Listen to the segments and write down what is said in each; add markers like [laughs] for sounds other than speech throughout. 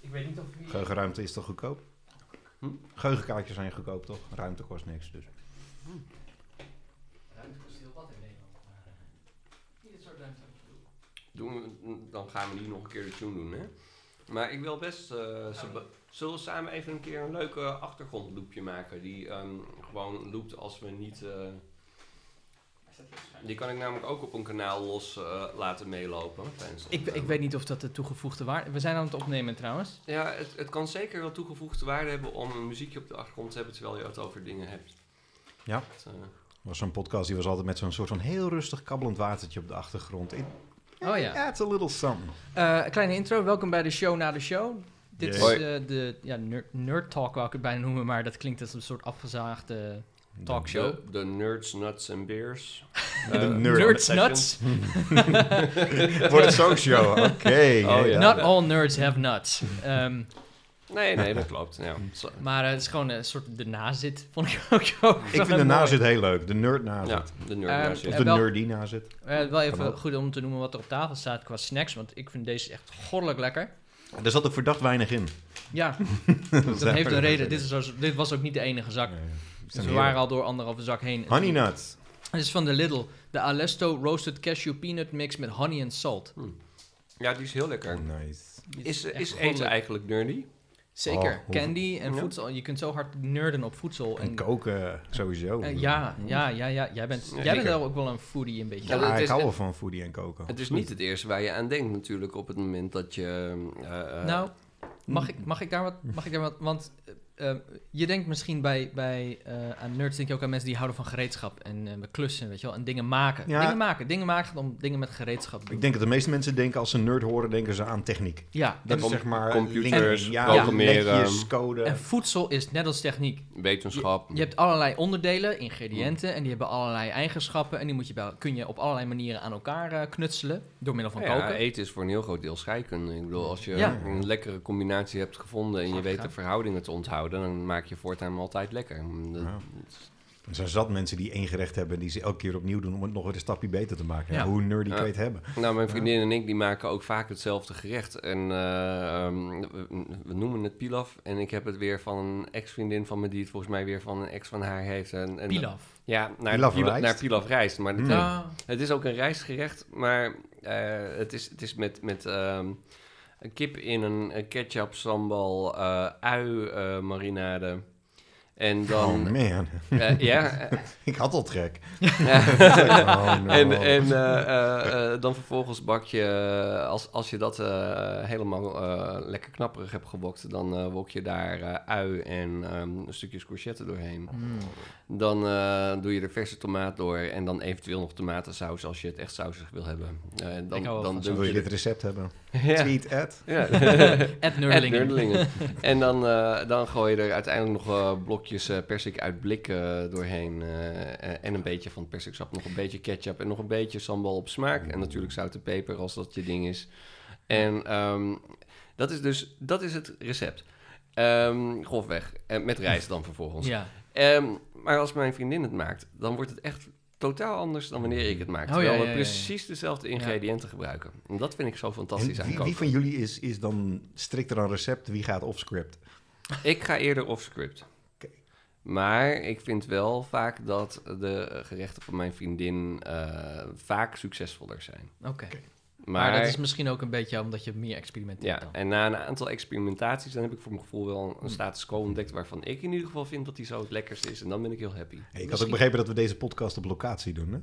weet niet of die... Geheugenruimte is toch goedkoop? Hm? Geheugenkaartjes zijn goedkoop, toch? Ruimte kost niks, dus. Ruimte kost heel wat in Nederland. Maar, eh, niet het soort ruimte. Doen we, dan gaan we die nog een keer de tune doen, hè? Maar ik wil best... eh, ze- zullen we samen even een keer een leuke achtergrondloopje maken? Die ehm, gewoon loopt als we niet... eh, Hij staat heel schuin. die kan ik namelijk ook op een kanaal los eh, laten meelopen. Ehm, tijdens het Ik, ik opnemen. weet niet of dat de toegevoegde waarde... We zijn aan het opnemen trouwens. Ja, het, het kan zeker wel toegevoegde waarde hebben om een muziekje op de achtergrond te hebben terwijl je het over dingen hebt. Ja. Het, eh, was zo'n podcast, die was altijd met zo'n soort van heel rustig kabbelend watertje op de achtergrond. It, Oh ja. That's a little something. Eh, een kleine intro. Welkom bij de show na de show. Dit Yes. is Hoi. eh, de ja, nerd, nerd talk, wou ik het bijna noemen, maar dat klinkt als een soort afgezaagde talkshow. de, de Nerds, Nuts and Beers. De Eh, nerd Nerds session. nuts. [laughs] Wordt het zo'n [laughs] show? Oké. hey, Oh, ja. Nou, Not all nerds have nuts. Ehm, Nee, nee, dat klopt. [laughs] Ja. Zo- maar eh, het is gewoon een soort de nazit, vond ik ook. ook Ik vind de nazit heel leuk. De nerd nazit. ja, de Nerd Ehm, Of Ja, de wel- nerdy nazit. Eh, wel Kan even ook. goed om te noemen wat er op tafel staat qua snacks, want ik vind deze echt goddelijk lekker. Er zat ook verdacht weinig in. Ja, dat zijn heeft we een er reden. net Dit, is als- dit was ook niet de enige zak. Nee, Dus we waren al door anderhalve zak heen. Honey nuts. Dit is van de Lidl. De Alesto Roasted Cashew Peanut Mix met honey en salt. ja, die is heel lekker. Oh, Nice. Die Is, echt is goddelijk. eten eigenlijk nerdy? Zeker. Oh, hoe- Candy en Ja. voedsel. Je kunt zo hard nerden op voedsel. En koken sowieso. Eh, ja, ja, ja, ja. Jij bent, Ja, jij bent zeker. wel ook wel een foodie een beetje. Ja, Ja, dat ik is- hou wel van foodie en koken. Het is Absoluut. niet het eerste waar je aan denkt natuurlijk op het moment dat je... eh, mm. eh, nou, mag ik, mag ik daar wat? Mag ik daar wat? Want eh, eh, je denkt misschien bij, bij eh, aan nerds denk je ook aan mensen die houden van gereedschap en eh, bij klussen, weet je wel, en dingen maken. Ja. Dingen maken. Dingen maken gaat om dingen met gereedschap. te doen. Ik denk dat de meeste mensen denken als ze nerd horen, denken ze aan techniek. ja. Dat is is eh, com- zeg maar computers, linken, ja, programmeren. Netjes, code. En voedsel is net als techniek. wetenschap. Je hebt allerlei onderdelen, ingrediënten, en die hebben allerlei eigenschappen. En die moet je bij, kun je op allerlei manieren aan elkaar eh, knutselen. Door middel van Nou ja, koken. eten is voor een heel groot deel scheikunde. Ik bedoel, als je Ja. een lekkere combinatie hebt gevonden en je weet gaan. de verhoudingen te onthouden, dan maak je voortaan altijd lekker. Dat- Ja. Er zijn zat mensen die één gerecht hebben... die ze elke keer opnieuw doen om het nog weer een stapje beter te maken. Ja, Ja. Hoe nerdy kan Ja. je het hebben? Nou, mijn vriendin en ik die maken ook vaak hetzelfde gerecht. En eh, ehm, we, we noemen het pilaf. En ik heb het weer van een ex-vriendin van me die het volgens mij weer van een ex van haar heeft. En, en, Pilaf. Ja, naar Pilaf pilaf, rijst. rijst. Naar pilaf rijst. Maar het, Mm. [laughs] Ah. het is ook een rijstgerecht, maar eh, het, is, het is met, met ehm, een kip in een, eh, ketchup, sambal, eh, ui eh, marinade. En Oh dan... man, [laughs] eh, ja, [laughs] eh, ik had al trek. ja. [laughs] Oh, no. En, en eh, eh, eh, dan vervolgens bak je, eh, als, als je dat eh, helemaal eh, lekker knapperig hebt gewokt, dan eh, wok je daar eh, ui en ehm, stukjes courgette doorheen. Mm. Dan eh, doe je er verse tomaat door en dan eventueel nog tomatensaus als je het echt sausig wil hebben. Eh, dan, Ik hou wel dan van doe Wil je je dit recept hebben? [laughs] Ja. Tweet at. Ja. [laughs] Ed En Nurlingen. [laughs] nerdelingen. En dan, eh, dan gooi je er uiteindelijk nog eh, blokjes eh, persik uit blik eh, doorheen. eh, eh, en een beetje van het persiksap, nog een beetje ketchup en nog een beetje sambal op smaak. En natuurlijk zout en peper als dat je ding is. En ehm, dat is dus dat is het recept. Ehm grofweg. En met rijst dan vervolgens. Ja. Ehm, maar als mijn vriendin het maakt, dan wordt het echt totaal anders dan wanneer ik het maak. Oh, terwijl ja, we ja, ja, ja. precies dezelfde ingrediënten gebruiken. En dat vind ik zo fantastisch En aan wie, wie koken. van jullie is, is dan strikter aan recept? Wie gaat off script? Ik ga eerder off-script. Oké. Maar ik vind wel vaak dat de gerechten van mijn vriendin eh, vaak succesvoller zijn. Oké. Maar, Maar, dat is misschien ook een beetje omdat je meer experimenteert ja, dan. en na een aantal experimentaties, dan heb ik voor mijn gevoel wel een status quo ontdekt waarvan ik in ieder geval vind dat die zo het lekkerste is. En dan ben ik heel happy. Hey, ik had Misschien- ook begrepen dat we deze podcast op locatie doen. Hè?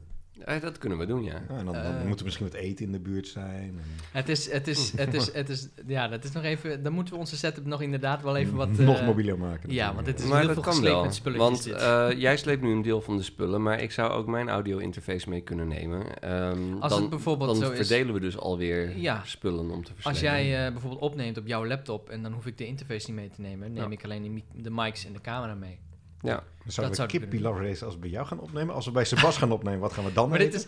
Eh, dat kunnen we doen, ja. Ja, en dan, dan Eh. moet er misschien wat eten in de buurt zijn. En Het is, het [laughs] is, het is, het is, ja, dat is nog even, dan moeten we onze setup nog inderdaad wel Mm, even wat... eh, nog mobieler maken. Ja, want natuurlijk. dit is maar heel dat veel kan gesleept wel. met spulletjes want dit. eh, jij sleept nu een deel van de spullen, maar ik zou ook mijn audio interface mee kunnen nemen. Ehm, Als dan, het bijvoorbeeld dan zo is- verdelen we dus alweer Ja. spullen om te verslepen. Als jij eh, bijvoorbeeld opneemt op jouw laptop en dan hoef ik de interface niet mee te nemen, neem Ja. Oh, ik alleen de mi- de mics en de camera mee. Ja. Dan zouden dat we zouden Kip we kunnen Pilar Race als we bij jou gaan opnemen. Als we bij Sebas gaan opnemen, wat gaan we dan Maar dit is,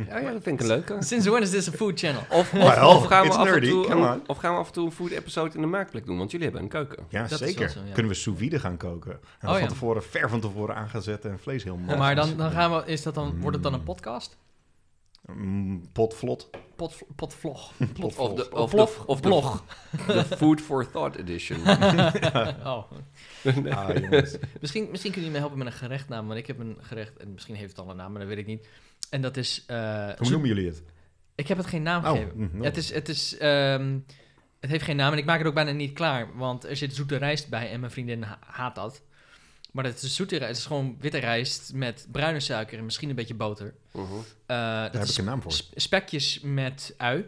Oh ja, dat vind ik een leuke. sinds when is this a food channel? [laughs] Of, of, [laughs] Well, of gaan we it's af en nerdy, toe come een, on. of gaan we af en toe een food episode in de maakplek doen? Want jullie hebben een keuken. Ja, Dat is zeker. wel zo, ja. Kunnen we sous vide gaan koken. En dan Oh, van ja. tevoren, ver van tevoren aan gaan zetten en vlees heel mooi. Mm. maar dan, dan gaan we, is dat dan, wordt het dan een podcast? Mm, potvlot. Pot, potvlog. Potvlot. Of de, Of of plof. de, of de, blog. [laughs] de Food for Thought [laughs] Edition. Oh. Ah, jongens. Misschien, misschien kunnen jullie me helpen met een gerechtnaam, want ik heb een gerecht en misschien heeft het al een naam, maar dat weet ik niet. En dat is... eh, Hoe zo- noemen jullie het? Ik heb het geen naam Oh, gegeven. mm, Het, is, het, is, ehm, het heeft geen naam en ik maak het ook bijna niet klaar. Want er zit zoete rijst bij en mijn vriendin ha- haat dat. Maar het is zoete rijst. Het is gewoon witte rijst met bruine suiker en misschien een beetje boter. Mhm. Eh, dat Daar heb is ik een naam voor. sp- spekjes met ui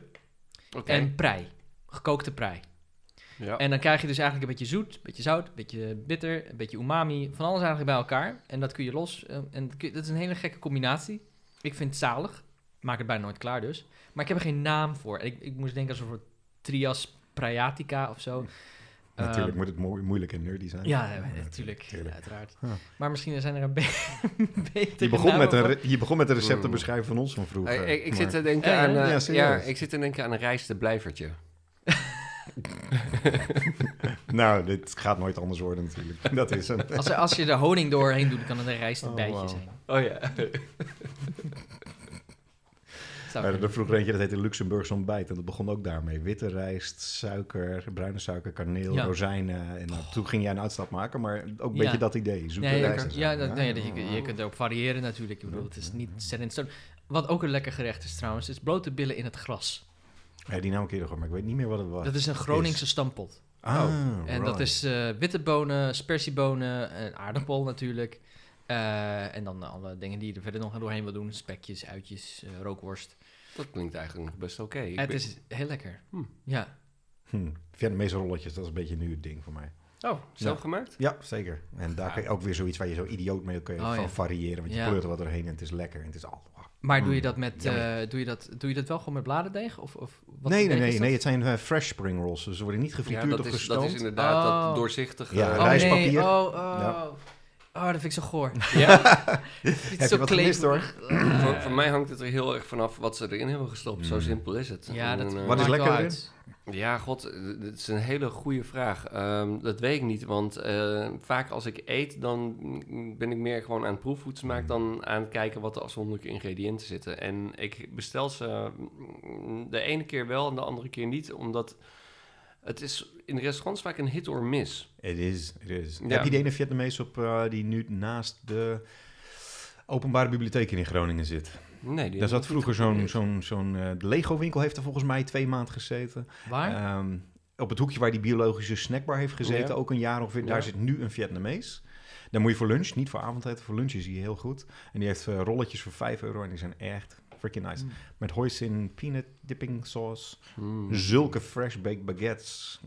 Oké. en prei. Gekookte prei. Oh. Ja. En dan krijg je dus eigenlijk een beetje zoet, een beetje zout, een beetje bitter, een beetje umami. Van alles eigenlijk bij elkaar. En dat kun je los. eh, En dat kun je- dat is een hele gekke combinatie. Ik vind het zalig. Maak het bijna nooit klaar dus. Maar ik heb er geen naam voor. En Ik, ik moest denken aan een soort trias praiatica of zo. Natuurlijk Ehm, moet het mo- moeilijk en nerdy zijn. Ja, eh, natuurlijk. tuurlijk. Uiteraard. Ja. Maar misschien zijn er een be [laughs] betere Je begon, met een, namen re- je begon met een recept te Mm. beschrijven van ons van vroeger. Eh, ik, ik maar- zit te denken Eh, aan, eh, ja, ja, serieus. ik zit te denken aan een rijste blijvertje. Nou, dit gaat nooit anders worden natuurlijk. Dat is een... voor. Als, er- als je er honing doorheen doet, kan het [laughs] een rijst een Oh, bijtje wauw. zijn. Oh ja. [laughs] Zou Er kunnen. vroeger eentje, dat heette Luxemburgs ontbijt. En dat begon ook daarmee. Witte rijst, suiker, bruine suiker, kaneel, Ja. rozijnen. En nou, toen ging jij een uitstap maken, maar ook een Ja. beetje dat idee. Zoete Nee, ja, rijst. en zo. Ah. ja, dat, nee, Ja. dat je, je kunt erop variëren natuurlijk. Ik bedoel, het is niet set in stone. Wat ook een lekker gerecht is trouwens, is blote billen in het gras. Ja, die naam een keer gehoord, maar ik weet niet meer wat het was. Dat is een Groningse stampot. Ah, En dat right. is eh, witte bonen, spersiebonen, en aardappel natuurlijk. Eh, en dan alle dingen die je er verder nog doorheen wil doen. Spekjes, uitjes, eh, rookworst. Dat klinkt eigenlijk nog best oké. Ik het ben- is heel lekker. Hmm. Ja. Hm. Vietnamese rolletjes, dat is een beetje nu het ding voor mij. Oh, zelf gemaakt? Ja, zeker. En daar kun je ook weer zoiets waar je zo idioot mee kan je Oh, van ja. variëren. Want je Ja. pleurt er wat doorheen en het is lekker. En het is al... Maar doe je Mm, dat met, eh, yummy. doe je dat, doe je dat wel gewoon met bladerdeeg? Of, of wat nee, voor nee, deeg is nee, dat? nee. Het zijn eh, fresh spring rolls. Dus ze worden niet gefrituurd ja, dat of is, gestoomd. dat is inderdaad Oh. dat doorzichtige... Ja, eh, Oh, rijstpapier. nee. Oh, oh. Ja. oh, dat vind ik zo goor. [laughs] [laughs] Ja, Iets Heb zo je wat gemist kleverig. hoor? voor, voor mij hangt het er heel erg vanaf wat ze erin hebben gestopt. Zo Mm. simpel is het. Ja, En, dat eh, Wat is maakt lekker wel erin? uit. Ja, god, eh, dat is een hele goede vraag. Ehm, dat weet ik niet, want eh, vaak als ik eet, dan mm, ben ik meer gewoon aan het proefvoedsmaak dan aan het kijken wat de afzonderlijke ingrediënten zitten. En ik bestel ze mm, de ene keer wel en de andere keer niet, omdat het is in de restaurants vaak een hit or miss. Het is, het is. Ja. Heb je de ene Vietnamees op eh, die nu naast de openbare bibliotheek in Groningen zit? Nee, Daar die heb zat ik niet vroeger zo'n geprobeerd. zo'n zo'n eh, de Lego-winkel heeft er volgens mij twee maanden gezeten. Ah, Waar? Ehm, op het hoekje waar die biologische snackbar heeft gezeten, Ja. ook een jaar ongeveer. Daar Ja. zit nu een Vietnamees. Daar moet je voor lunch, niet voor avondeten, voor lunch is hij heel goed. En die heeft eh, rolletjes voor 5 euro en die zijn echt freaking nice. Mm. Met hoisin, peanut dipping sauce, Hmm. zulke fresh baked baguettes.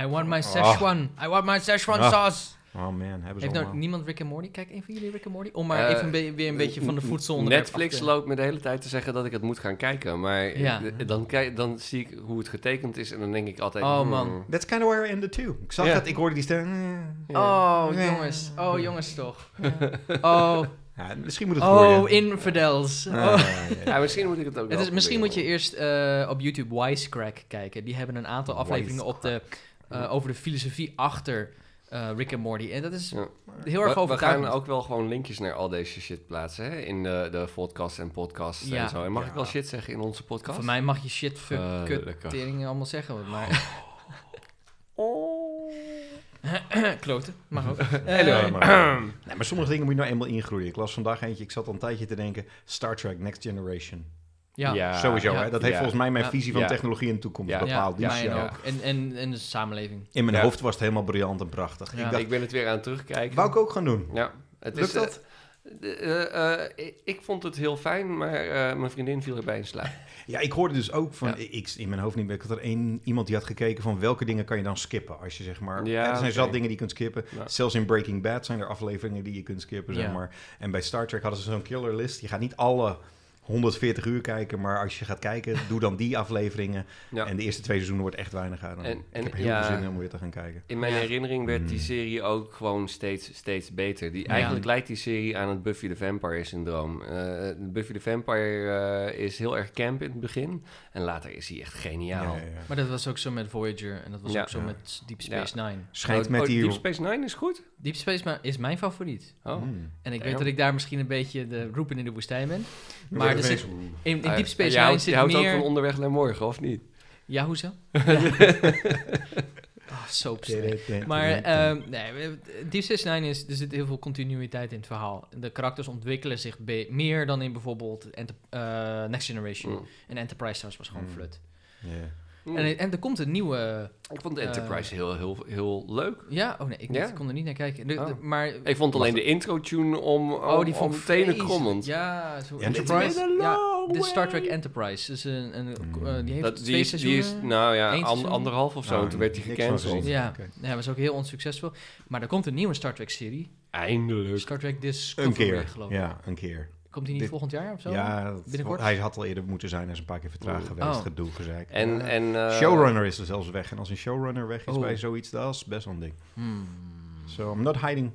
I want my Ah. Szechuan. I want my Szechuan Ah. sauce. Oh man, hebben ze Heeft nou allemaal. niemand Rick en Morty? Kijk, een van jullie Rick en Morty? Om maar Eh, even een be- weer een beetje van de voedsel Netflix loopt me de hele tijd te zeggen dat ik het moet gaan kijken, maar Ja. eh, dan, kijk, dan zie ik hoe het getekend is en dan denk ik altijd... Oh, hmm, man. That's kind of where I ended too. Ik zag Ja. dat, ik hoorde die stem. eh. Oh, Ja. jongens. Oh, jongens [laughs] toch. Oh, Ja, misschien moet het oh voor je. infidels. Ah, Oh. [laughs] ja, ja. Ja, misschien moet ik het ook Het wel is, misschien moet je proberen. eerst eh, op YouTube Wisecrack kijken. Die hebben een aantal afleveringen op de, eh, over de filosofie achter eh, Rick en Morty. En dat is Ja. heel erg We- we, overtuigend. gaan ook wel gewoon linkjes naar al deze shit plaatsen hè? in de, de podcast en podcast Ja. en zo. En mag Ja. ik wel shit zeggen in onze podcast? Voor mij mag je shit, fuck, Eh, kut, lekker. tering allemaal zeggen. Maar Oh. [laughs] kloten, mag ook. Eh, Ja, maar, nee, maar sommige dingen moet je nou eenmaal ingroeien. Ik las vandaag eentje, ik zat al een tijdje te denken... Star Trek Next Generation. Ja, Sowieso, ja. hè? Dat heeft Ja. volgens mij mijn Ja. visie van Ja. technologie en de toekomst Ja. bepaald. Die mij show. ook. En, en, en de samenleving. In mijn Ja. hoofd was het helemaal briljant en prachtig. Ja. Ik dacht, Ik ben het weer aan het terugkijken. wou ik ook gaan doen. Ja, het Lukt is, eh, dat? de- eh, eh, ik- ik vond het heel fijn, maar eh, mijn vriendin viel erbij in slaap. Ja, ik hoorde dus ook van, Ja. ik, in mijn hoofd niet meer, ik had er één, iemand die had gekeken van welke dingen kan je dan skippen als je zeg maar, Ja, er zijn oké. zat dingen die je kunt skippen. Ja. Zelfs in Breaking Bad zijn er afleveringen die je kunt skippen, zeg Ja. maar. En bij Star Trek hadden ze zo'n killer list. Je gaat niet alle 140 uur kijken, maar als je gaat kijken, doe dan die afleveringen. Ja. En de eerste twee seizoenen wordt echt weinig aan. En- ik en- heb heel ja. veel zin om weer te gaan kijken. In mijn Ja. herinnering werd die Mm. serie ook gewoon steeds, steeds beter. Die, Ja. Eigenlijk lijkt die serie aan het Buffy the Vampire syndroom. Eh, Buffy the Vampire eh, is heel erg camp in het begin. En later is hij echt geniaal. Ja, ja, ja. Maar dat was ook zo met Voyager en dat was Ja. ook zo Ja. met Deep Space Nine. Schijnt Oh, met oh, die... Deep Space Nine is goed? Deep Space Ma- is mijn favoriet. Oh. Hmm. En ik weet Damn. dat ik daar misschien een beetje de roepen in de woestijn ben. Maar er zit- In, in Deep Space Ah, je Nine houdt, je zit houdt ook meer... van onderweg naar morgen, of niet? Ja, [laughs] hoezo? Ah, soaps. Maar ehm, nee, we- Deep Space Nine is, er zit heel veel continuïteit in het verhaal. De karakters ontwikkelen zich be- meer dan in bijvoorbeeld Enter- eh, Next Generation. Mm. En Enterprise trouwens was gewoon Mm. flut. Ja. En, eh, en er komt een nieuwe... Hmm. ik vond de Enterprise heel, heel, heel leuk. Ja, oh nee, ik Ja? kon er niet naar kijken. De- de- Oh. maar... Ik vond alleen de intro-tune om, om, oh, die vond om ik tenen vreselijk. krommend. Ja, zo... Enterprise? Ja, de Star Trek Enterprise. Dus een, een, Mm. eh, die heeft Dat, twee die, is, die is, seizoenen. nou ja, Eén an- seizoen? anderhalf of zo. Nou, en toen werd die niks van gecanceld. gezien. Ja, Oké. ja, was ook heel onsuccesvol. Maar er komt een nieuwe Star Trek-serie. Eindelijk. Star Trek Discovery, Een keer. geloof ik. Ja, een keer. Komt die niet Dit- volgend jaar of zo? Ja, dat- Binnenkort? hij had al eerder moeten zijn. Hij is een paar keer vertraagd Oh. geweest. Oh. Gedoe, gezeik. En, Ja. en, eh, showrunner is er zelfs weg. En als een showrunner weg is Oh. bij zoiets, dat is best wel een ding. Hmm. So I'm not hiding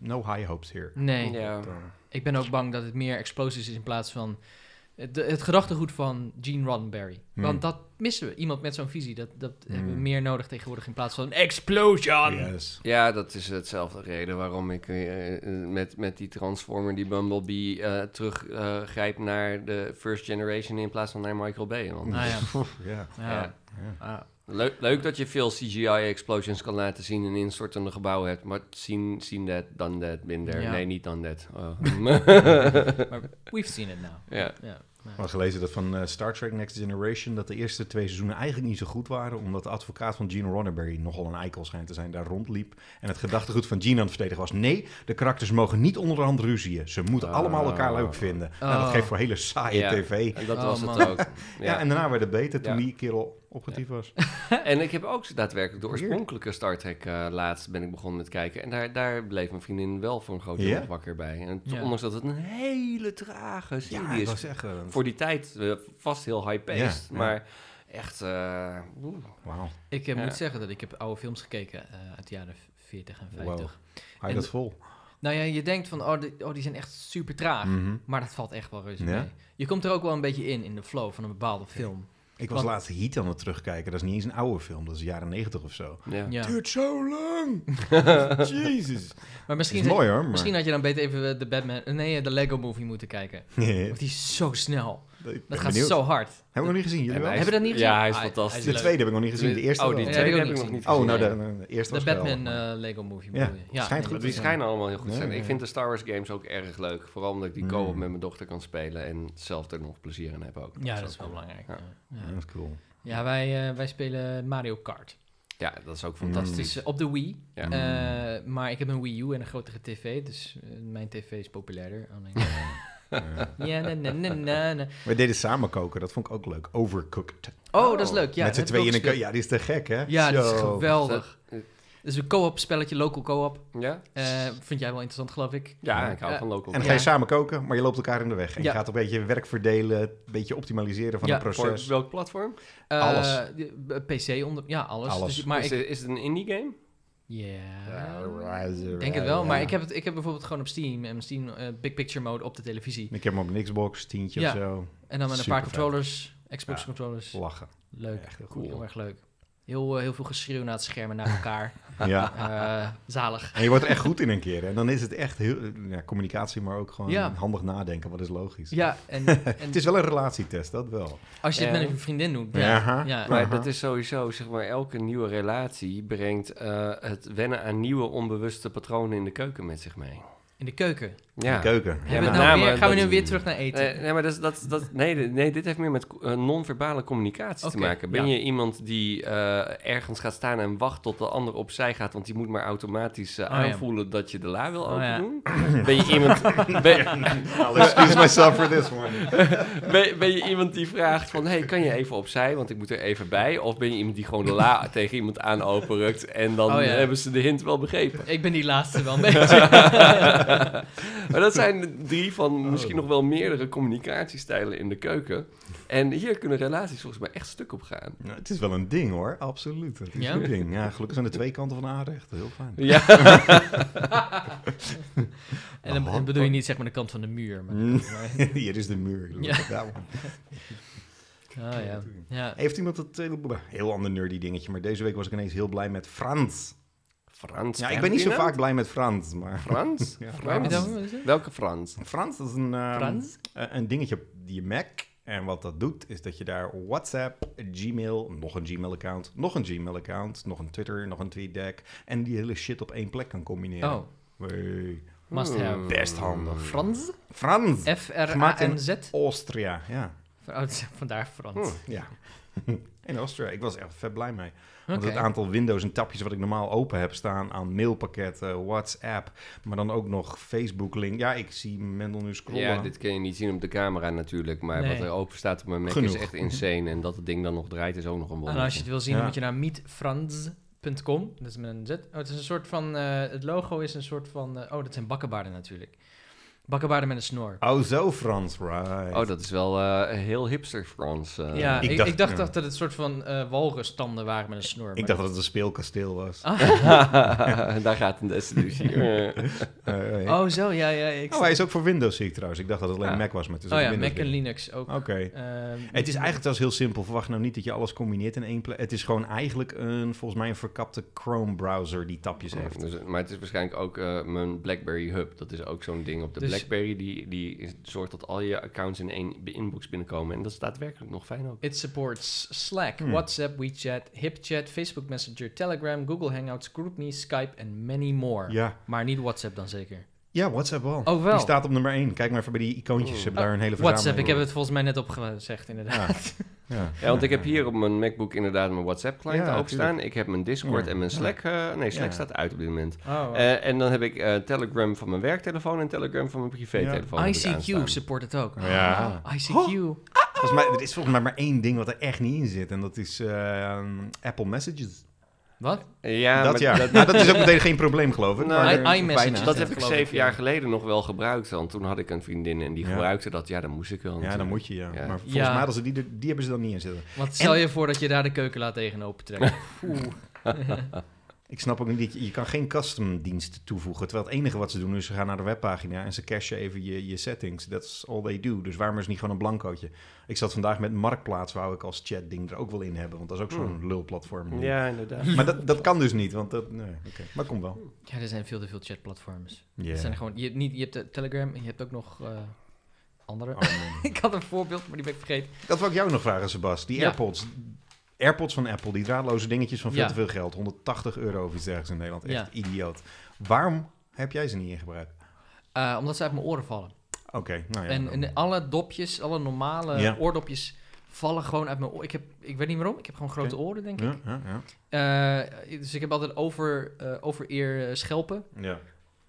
no high hopes here. uh, Nee, Ja. ik ben ook bang dat het meer explosies is in plaats van het, het gedachtegoed van Gene Roddenberry. Hmm. Want dat missen we. Iemand met zo'n visie, dat, dat hebben we Hmm. meer nodig tegenwoordig in plaats van een explosion. Yes. Ja, dat is hetzelfde reden waarom ik eh, eh, met, met die Transformer, die Bumblebee, eh, teruggrijp naar de First Generation in plaats van naar Michael Bay. Want, Nou [laughs] ja. Ja. Ja. ja. Ah, Leuk, leuk dat je veel CGI-explosions kan laten zien in instortende gebouwen hebt, maar zien zien that, dan that, been there. Ja. Nee, niet dan that. [laughs] Oh. [laughs] maar we've seen it now. ja. Ja. We hadden gelezen dat van eh, Star Trek Next Generation... dat de eerste twee seizoenen eigenlijk niet zo goed waren... omdat de advocaat van Gene Roddenberry nogal een eikel schijnt te zijn... daar rondliep en het gedachtegoed van Gene aan het verdedigen was... nee, de karakters mogen niet onderhand ruzieën. Ze moeten Ah. allemaal elkaar leuk vinden. Nou, dat Oh. geeft voor hele saaie Ja. tv. En dat Oh, was het man. ook. Ja. en daarna werd het beter toen Ja. die kerel opgetief [laughs] was. En ik heb ook daadwerkelijk de Weird. oorspronkelijke Star Trek eh, laatst ben ik begonnen met kijken. En daar, daar bleef mijn vriendin wel voor een groot deel Ja? nog wakker bij. En t- Ja. ondanks dat het een hele trage serie Ja, ik is. was echt... eh, Voor die tijd eh, vast heel high-paced. Ja, ja. Maar echt... eh, oeh. Wauw, Ik eh, Ja. moet zeggen dat ik heb oude films gekeken eh, uit de jaren 40 en 50. Wow. hou En- je dat vol? Nou ja, je denkt van, oh die, oh, die zijn echt super Ah. traag. Mhm. Maar dat valt echt wel reuze Ja? mee. Je komt er ook wel een beetje in, in de flow van een bepaalde film. Ik was Want- laatst Heat aan het terugkijken. Dat is niet eens een oude film. Dat is jaren negentig of zo. Ja. Ja. Duurt zo [laughs] lang! Jezus. Maar Het is misschien, mooi hoor, maar... misschien had je dan beter even eh, de Batman, nee, eh, de Lego Movie moeten kijken. Nee, [laughs] Want die is zo snel. ik ben Dat gaat benieuwd. zo hard. Hebben we nog niet gezien? Jullie En wel? hij Hebben we dat niet gezien? Ja, hij is Ah, fantastisch. de leuk. tweede heb ik nog niet gezien. De eerste Oh, die wel. tweede. tweede heb ik heb ik niet nog niet Oh, gezien. nou, nee. de, de eerste De was Batman geweldig. eh, Lego Movie Ja, bedoel je. Ja, schijnt nee, goed Die te schijnen allemaal heel goed te Ja, zijn. ja. Ik vind de Star Wars games ook erg leuk. Vooral omdat ik die co-op Mm. met mijn dochter kan spelen. En zelf er nog plezier in heb ook. Ja, dat ook is wel cool. belangrijk. Ja. Ja, ja. Ja, dat is cool. Ja, wij, eh, wij spelen Mario Kart. Ja, dat is ook Het fantastisch. is Hmm. eh, op de Wii. Ja. Mm. Eh, maar ik heb een Wii U en een grotere tv, dus eh, mijn tv is populairder. [laughs] Alleen... Ja. ja, na, na, na, na, na. We deden samen koken. Dat vond ik ook leuk. Overcooked. Oh, dat is leuk. Ja, Met z'n dat heb ik tweeën in de ook keuken. Ja, die is te gek, hè? gespeeld. Ja, dat is Zo. geweldig. Is dat- Dus een co-op spelletje, local co-op. Ja? Eh, vind jij wel interessant, geloof ik. Ja, ik hou Eh, van local. En dan Ja. ga je samen koken, maar je loopt elkaar in de weg. En Ja. je gaat een beetje werk verdelen, een beetje optimaliseren van Ja, het proces. Voor welk platform? Eh, Alles. de- PC onder... Ja, alles. Alles. Dus, maar is, ik... het, is het een indie game? Ja, Ja, ik denk het wel. Maar ik heb, het, ik heb bijvoorbeeld gewoon op Steam, en Steam eh, Big Picture Mode op de televisie. Ik heb hem op een Xbox, tientje Ja. of zo. En dan met een Super paar controllers, Xbox Ja. controllers. Lachen. Leuk. Echt heel Cool. Heel erg leuk. Heel, eh, heel veel geschreeuw naar het scherm en naar elkaar. Ja. Eh, [laughs] zalig. En je wordt er echt goed in een keer. En dan is het echt heel... Ja, communicatie, maar ook gewoon Ja. handig nadenken. Wat is logisch. Ja, en, en Het is wel een relatietest, dat wel. als je het Ja. met een vriendin doet. Aha. Ja, ja. Maar Aha. dat is sowieso, zeg maar, elke nieuwe relatie brengt eh, het wennen aan nieuwe onbewuste patronen in de keuken met zich mee. in de keuken. Ja. De keuken. Ja, Hebben we met het nou name weer, gaan we dat- nu weer terug naar eten? Nee, nee, maar dat, is- dat, dat, nee, de- nee, dit heeft meer met eh, non-verbale communicatie te Oké, maken. Ben ja. je iemand die eh, ergens gaat staan en wacht tot de ander opzij gaat, want die moet maar automatisch eh, Oh, ja. aanvoelen dat je de la wil Oh, ja. [laughs] opendoen? Ben je iemand... ben- I'll [laughs] Nou, excuse myself for this one. Ben, ben je iemand die vraagt van, hey, kan je even opzij, want ik moet er even bij? Of ben je iemand die gewoon de [laughs] la tegen iemand aan openrukt en dan Oh, ja. hebben ze de hint wel [laughs] begrepen? Ik ben die laatste wel een beetje. Maar dat zijn drie van Oh. misschien nog wel meerdere communicatiestijlen in de keuken. En hier kunnen relaties volgens mij echt stuk op gaan. Nou, het is wel een ding hoor, absoluut. Het is Ja? een ding. Ja, gelukkig zijn de twee kanten van de aanrecht. Heel fijn. Ja, en dan, dan bedoel je niet zeg maar de kant van de muur. Maar, Mm. [laughs] Hier is de muur. Ja. Ja. man. Ah, ja. ja. Heeft iemand het... eh, Heel ander nerdy dingetje, maar deze week was ik ineens heel blij met Frans. Frans. Ja, ik ben niet zo Ferdinand? vaak blij met Frans, maar... Frans? [laughs] Ja, Waar heb je Frans? het over? Wat is het? Welke Frans? Frans is een, ehm, Frans? eh, een dingetje op je Mac. En wat dat doet, is dat je daar WhatsApp, Gmail, nog een Gmail-account, nog een Gmail-account, nog een Twitter, nog een TweetDeck. En die hele shit op één plek kan combineren. Oh, Hey, must have. best handig. Frans? Frans! Gemaakt in- F-R-A-N-Z? Austria, ja. Van- oh, Vandaar Frans. Hm. ja. [laughs] in Austria. Ik was echt vet blij mee. Want Oké. het aantal windows en tapjes wat ik normaal open heb staan aan mailpakketten, WhatsApp, maar dan ook nog Facebook-link. Ja, ik zie Mendel nu scrollen. Ja, dit kun je niet zien op de camera natuurlijk, maar Nee. wat er open staat op mijn Mac Genoeg. is echt insane. En dat het ding dan nog draait is ook nog een En wonder. als je het wil zien, Ja. dan moet je naar meetfrans.com. Dat is met een Z. Oh, het is een soort van... eh, het logo is een soort van... eh, oh, dat zijn bakkenbaarden natuurlijk. Bakkenbaarden met een snor. Oh, zo Frans, right. Oh, dat is wel eh, heel hipster Frans. eh. ja, [laughs] ik ik, ik dacht- dacht, ja. dat het een soort van eh walrustanden waren met een snor. ik maar- dacht dat het een speelkasteel was. Ah. [laughs] Daar gaat een [laughs] desillusie. Eh, Eh, eh. Oh, zo, ja, ja. Ik oh, hij is ook voor Windows, zie ik trouwens. Ik dacht dat het alleen Ja. Mac was, maar het is oh ook Oh, ja, een Mac en Windows-ding. Linux ook. Oké. Ehm, Het is eigenlijk zelfs heel simpel. Verwacht nou niet dat je alles combineert in één plek. Het is gewoon eigenlijk een, volgens mij, een verkapte Chrome-browser die tapjes heeft. dus, maar het is waarschijnlijk ook eh, mijn BlackBerry Hub. Dat is ook zo'n ding op de Dus- BlackBerry. Die, die is- zorgt dat al je accounts in één inbox binnenkomen. En dat is daadwerkelijk nog fijn ook. It supports Slack, Hmm. WhatsApp, WeChat, HipChat, Facebook Messenger, Telegram, Google Hangouts, GroupMe, Skype en many more. Ja. Maar niet WhatsApp dan zeker. ja, WhatsApp wel. Oh, wel. Oh, Die staat op nummer 1. Kijk maar even bij die icoontjes. Ze hebben daar een hele verzameling. WhatsApp, ik heb het volgens mij net opgezegd inderdaad. Ja. Ja, want ik heb hier op mijn MacBook inderdaad mijn WhatsApp-client Ja, openstaan. Ik heb mijn Discord Ja. en mijn Slack. eh, nee, Slack Ja. staat uit op dit moment. [laughs] Oh, wow. Eh, en dan heb ik eh, Telegram van mijn werktelefoon en Telegram van mijn privételefoon. heb ik ICQ aanstaan. support het ook. Ja. Ah, ICQ. Volgens mij, er is volgens mij maar één ding wat er echt niet in zit. En dat is eh, Apple Messages. Wat? Ja, dat maar ja. dat, Nou, dat is ook meteen geen probleem, geloof ik. Nou, maar I- er- iMessage, bijna. dat Ja, heb ik geloof zeven ik, ja. jaar geleden nog wel gebruikt. Want toen had ik een vriendin en die Ja. gebruikte dat. Ja, dan moest ik wel. Ja, dan natuurlijk. moet je, ja. Ja. Maar volgens Ja. mij, hadden ze die, er- die hebben ze dan niet in zitten. Wat stel je voor dat je daar de keukenlaat tegen open [laughs] trekt? Oeh. Ik snap ook niet, dat je, je kan geen custom dienst toevoegen. Terwijl het enige wat ze doen is, ze gaan naar de webpagina en ze cachen even je, je settings. That's all they do. Dus waarom is het niet gewoon een blancootje? Ik zat vandaag met Marktplaats, wou ik als chat ding er ook wel in hebben. Want dat is ook Hmm. zo'n lulplatform. Ja, inderdaad. Maar dat, dat kan dus niet, want dat, nee, oké. maar komt wel. Ja, er zijn veel te veel chatplatforms. Ja. Het zijn gewoon, je, hebt niet, je hebt eh, Telegram en je hebt ook nog eh, andere. Oh, man. [laughs] ik had een voorbeeld, maar die ben ik vergeten. Dat wil ik jou nog vragen, Sebas. Die Ja. AirPods. AirPods van Apple, die draadloze dingetjes van veel Ja. te veel geld. 180 euro of iets dergelijks in Nederland. Echt Ja. idioot. Waarom heb jij ze niet in gebruik? Eh, omdat ze uit mijn oren vallen. Oké, nou ja. en, dan- en alle dopjes, alle normale Ja. oordopjes vallen gewoon uit mijn oren. Ik, heb, ik weet niet waarom, ik heb gewoon grote oren, denk ik. ja, ja, ja. Eh, dus ik heb altijd over, eh overeer eh, schelpen. ja.